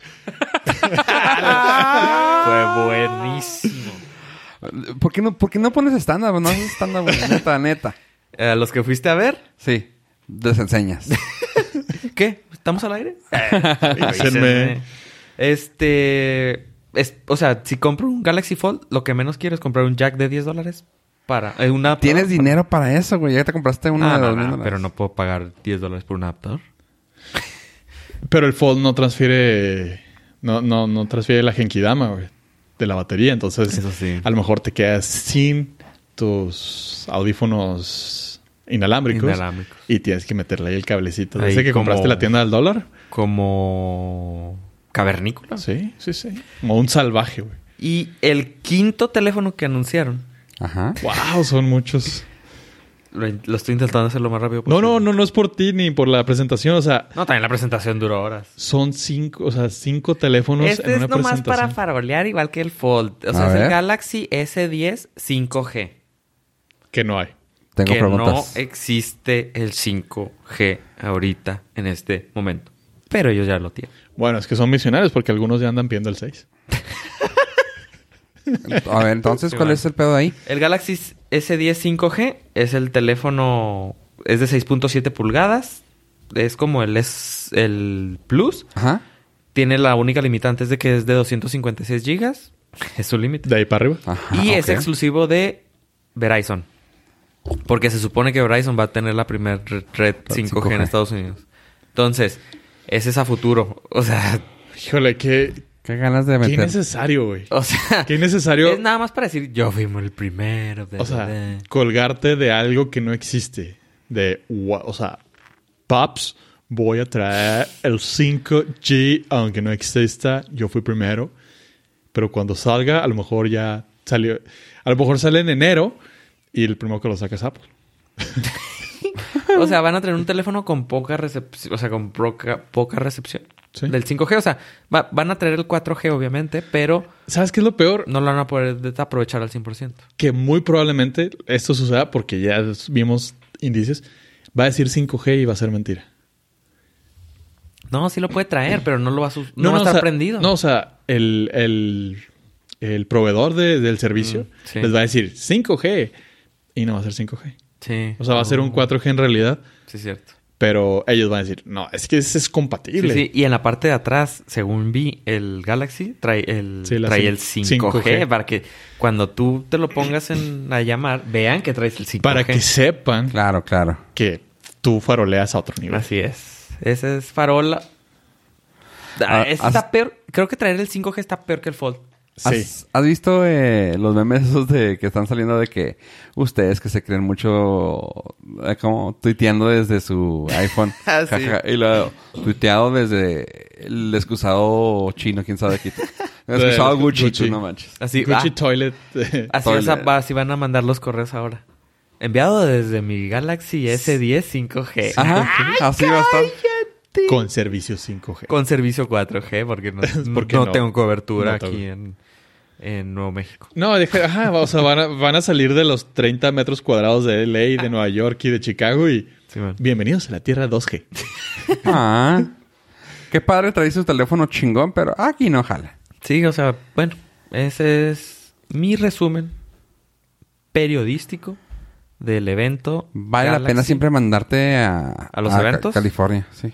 S3: Fue buenísimo.
S1: ¿Por qué no, por qué no pones estándar? No haces estándar, güey. Neta, neta.
S3: A los que fuiste a ver,
S1: Sí. Les enseñas.
S3: ¿qué? ¿Estamos al aire?
S2: Avísenme.
S3: Este. es- o sea, si compro un Galaxy Fold, lo que menos quiero es comprar un jack de 10 dólares para. eh, un adaptador.
S1: Tienes dinero para eso, güey. Ya te compraste uno
S3: Ah,
S1: de
S3: no,
S1: dos mil
S3: no,
S1: dólares.
S3: pero no puedo pagar 10 dólares por un adaptador.
S2: Pero el Fold no transfiere. No, no, no transfiere la Genkidama, güey, De la batería. Entonces,
S3: Eso sí.
S2: a lo mejor te quedas sin tus audífonos inalámbricos.
S3: Inalámbricos.
S2: Y tienes que meterle ahí el cablecito.
S3: Ahí
S2: Dice que
S3: como-
S2: compraste en la tienda del dólar.
S3: Como. Cavernícola.
S2: Sí, sí, sí. Como un salvaje, güey.
S3: Y el quinto teléfono que anunciaron.
S1: Ajá.
S2: Wow, son muchos.
S3: Lo, in- lo estoy intentando hacer lo más rápido
S2: No,
S3: posible.
S2: no, no, no es por ti ni por la presentación. O sea,
S3: No, también la presentación duró horas.
S2: son cinco, o sea, cinco teléfonos
S3: Este
S2: en
S3: es
S2: una
S3: nomás para
S2: presentación.
S3: farolear igual que el Fold. O
S1: A
S3: sea, es
S1: ver.
S3: el Galaxy S10 5G.
S2: Que no hay.
S1: Tengo
S3: que
S1: preguntas.
S3: no eh. existe el 5G ahorita, en este momento. Pero ellos ya lo tienen.
S2: Bueno, es que son misionarios porque algunos ya andan viendo el 6.
S1: A ver, entonces,
S3: Sí,
S1: ¿cuál
S3: bueno.
S1: es el pedo ahí?
S3: El Galaxy S10 5G es el teléfono... Es de 6.7 pulgadas. Es como el, S- el Plus.
S1: Ajá.
S3: Tiene la única limitante es de que es de 256 gigas. Es su límite.
S2: De ahí para arriba.
S1: Ajá.
S3: Y es
S1: ok.
S3: exclusivo de Verizon. Porque se supone que Verizon va a tener la primera red
S2: Ah,
S3: 5G,
S1: 5G.
S3: en Estados Unidos. Entonces, ese es a futuro. O sea,
S2: Híjole, qué,
S1: Qué ganas de
S2: qué
S1: meter.
S2: innecesario, güey.
S3: o sea,
S2: Qué innecesario.
S3: es nada más para decir, yo fuimos el primero. bla,
S2: O
S3: bla,
S2: sea,
S3: bla".
S2: colgarte de algo que no existe. De, "Gua- o sea, Paps, voy a traer el 5G, aunque no exista, yo fui primero. Pero cuando salga, a lo mejor ya salió. A lo mejor sale en enero y el primero que lo saca es Apple.
S3: o sea, van a tener un teléfono con poca recepción, o sea, con poca, poca recepción
S2: Sí.
S3: del 5G. O sea, va- van a traer el 4G, obviamente, pero
S2: ¿Sabes qué es lo peor?
S3: no lo van a poder de- aprovechar al 100%.
S2: que muy probablemente esto suceda porque ya vimos indicios. va a decir 5G y va a ser mentira.
S3: No, sí lo puede traer, pero no lo va a, sus- no, va a estar
S2: o sea,
S3: prendido.
S2: No, o sea, el, el- el proveedor de- del servicio
S3: Mm, sí.
S2: les va a decir 5G y no va a ser 5G.
S3: Sí.
S2: O sea, va a ser
S3: Oh.
S2: un 4G en realidad,
S3: Sí, es cierto.
S2: pero ellos van a decir, no, es que ese es
S3: Sí,
S2: compatible.
S3: sí. Y en la parte de atrás, según vi, el Galaxy trae el,
S2: Sí, la
S3: trae
S2: cin-
S3: el 5G,
S2: 5G.
S3: para que cuando tú te lo pongas en, a llamar, vean que traes el 5G.
S2: Para que sepan
S1: Claro, claro.
S2: que tú faroleas a otro nivel.
S3: Así es. Ese es farola.
S1: Ah,
S3: Ah, ese
S1: has-
S3: está peor. Creo que traer el 5G está peor que el Fold.
S2: Sí.
S1: ¿Has, has visto eh, los memes esos de que están saliendo de que ustedes que se creen mucho eh, como tuiteando desde su iPhone
S3: Ah, sí.
S1: Jaja, y lo tuiteado desde el excusado chino, quién sabe qué. El excusado
S2: De-
S1: Gucci,
S2: Gucci.
S1: tú no manches.
S3: Así,
S2: Gucci
S3: ah,
S2: Toilet. eh,
S3: así, vas a-
S1: Toilet.
S3: va- así van a mandar los correos ahora. Enviado desde mi Galaxy S10 5G.
S1: Ajá, así va a estar.
S2: con servicio 5G.
S3: Con servicio 4G, porque no,
S2: Porque
S3: no
S2: no.
S3: tengo cobertura
S2: No tengo.
S3: aquí en, en Nuevo México.
S2: No, deja, ajá, o sea, van a, van a salir de los 30 metros cuadrados de
S3: Ah.
S2: LA, de Nueva York y de Chicago y
S3: Simón.
S2: bienvenidos a la Tierra 2G.
S1: Ah, qué padre trae su teléfono chingón, pero aquí no jala.
S3: Sí, o sea, bueno, ese es mi resumen periodístico del evento.
S1: Vale la pena
S3: Galaxy.
S1: siempre mandarte a,
S3: ¿A los
S1: Ca-
S3: eventos?
S1: California, sí.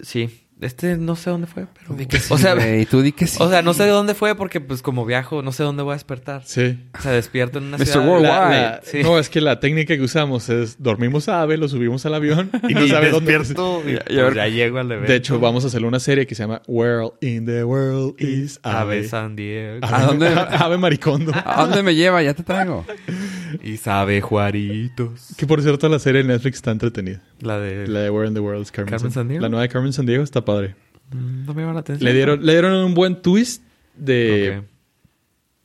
S3: Sí, este no sé dónde fue, pero...
S1: O
S3: o, sea,
S1: y tú di que sí.
S3: o sea, no sé de dónde fue porque pues como viajo, no sé dónde voy a despertar.
S2: Sí.
S3: O sea, despierto en una
S1: Mr.
S3: ciudad...
S2: La-
S1: Worldwide.
S2: la-
S3: Sí.
S2: No, es que la técnica que usamos es dormimos a Ave, lo subimos al avión y no sabe dónde.
S3: despierto y,
S1: y a ver-
S3: pues, ya llego al evento.
S2: De hecho, vamos a hacer una serie que se llama World in the World is
S3: Ave
S2: Ave.
S3: San Diego.
S1: ¿A dónde? Ah.
S2: Ave Maricondo.
S1: ¿A dónde me lleva? Ya te traigo.
S3: Y sabe Juaritos.
S2: Que por cierto, la serie de Netflix está entretenida.
S3: La de...
S2: La de Where in the World is Carmen,
S3: Carmen
S2: San-
S3: Sandiego.
S2: La nueva de Carmen San Diego está padre.
S3: Mm, No me llama la atención.
S2: Le dieron, eh, le dieron un buen twist de
S3: Ok.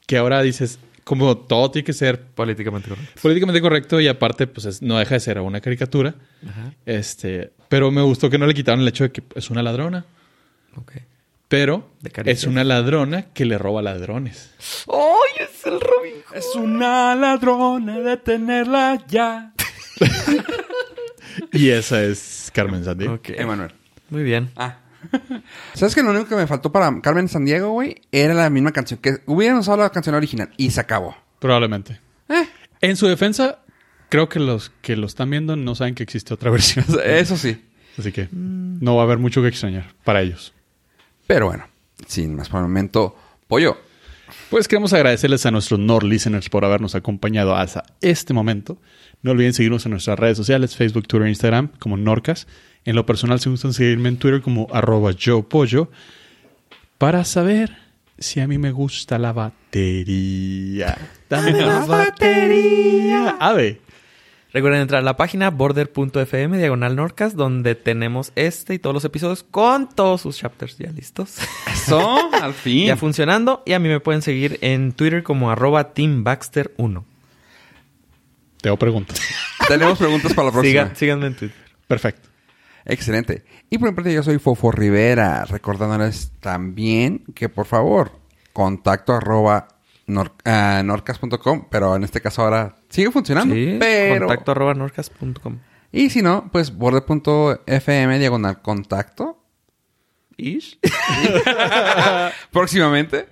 S2: que ahora dices, como todo tiene que ser
S3: Políticamente correcto.
S2: políticamente correcto y aparte, pues es- no deja de ser una caricatura.
S3: Ajá.
S2: Este, pero me gustó que no le quitaron el hecho de que es una ladrona.
S3: Ok.
S2: Pero
S3: De
S2: es
S3: caricias.
S2: una ladrona que le roba ladrones.
S3: ¡Ay, es el Robin Hood!
S1: Es una ladrona, detenerla ya.
S2: Y esa es Carmen Sandiego.
S3: Ok.
S1: Emanuel.
S3: Muy bien.
S1: Ah. ¿Sabes que lo único que me faltó para Carmen Sandiego, güey? Era la misma canción. Que hubieran usado la canción original y se acabó.
S4: Probablemente.
S1: Eh.
S4: En su defensa, creo que los que lo están viendo no saben que existe otra versión.
S1: O sea, Eso sí.
S4: Así que no va a haber mucho que extrañar para ellos.
S1: Pero bueno, sin más por el momento, pollo.
S4: Pues queremos agradecerles a nuestros Nord Listeners por habernos acompañado hasta este momento. No olviden seguirnos en nuestras redes sociales, Facebook, Twitter e Instagram como Norcas. En lo personal, se gustan seguirme en Twitter como arroba yo pollo para saber si a mí me gusta la batería. Dame Ah, la batería. Ave.
S3: Recuerden entrar a la página border.fm diagonal Norcas, donde tenemos este y todos los episodios con todos sus chapters ya listos.
S1: Eso, al fin.
S3: ya funcionando. Y a mí me pueden seguir en Twitter como arroba teambaxter1.
S4: Te hago pregunta.
S1: Tenemos preguntas para la próxima.
S3: Siga- síganme en Twitter.
S4: Perfecto.
S1: Excelente. Y por mi parte, yo soy Fofo Rivera, recordándoles también que por favor, contacto arroba nor- ah, norcas.com, pero en este caso ahora sigue funcionando.
S3: Sí,
S1: pero...
S3: Contacto arroba norcas.com.
S1: Y si no, pues borde.fm diagonal contacto.
S3: Ish.
S1: Próximamente.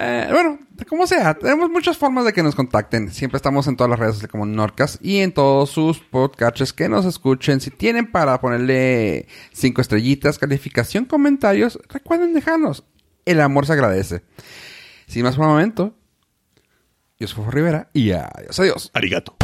S1: Eh, bueno, como sea, tenemos muchas formas de que nos contacten. Siempre estamos en todas las redes sociales como Norcas y en todos sus podcasts que nos escuchen. Si tienen para ponerle cinco estrellitas, calificación, comentarios, recuerden dejarnos. El amor se agradece. Sin más por el momento, yo soy Fofo Rivera y adiós, adiós.
S4: Arigato.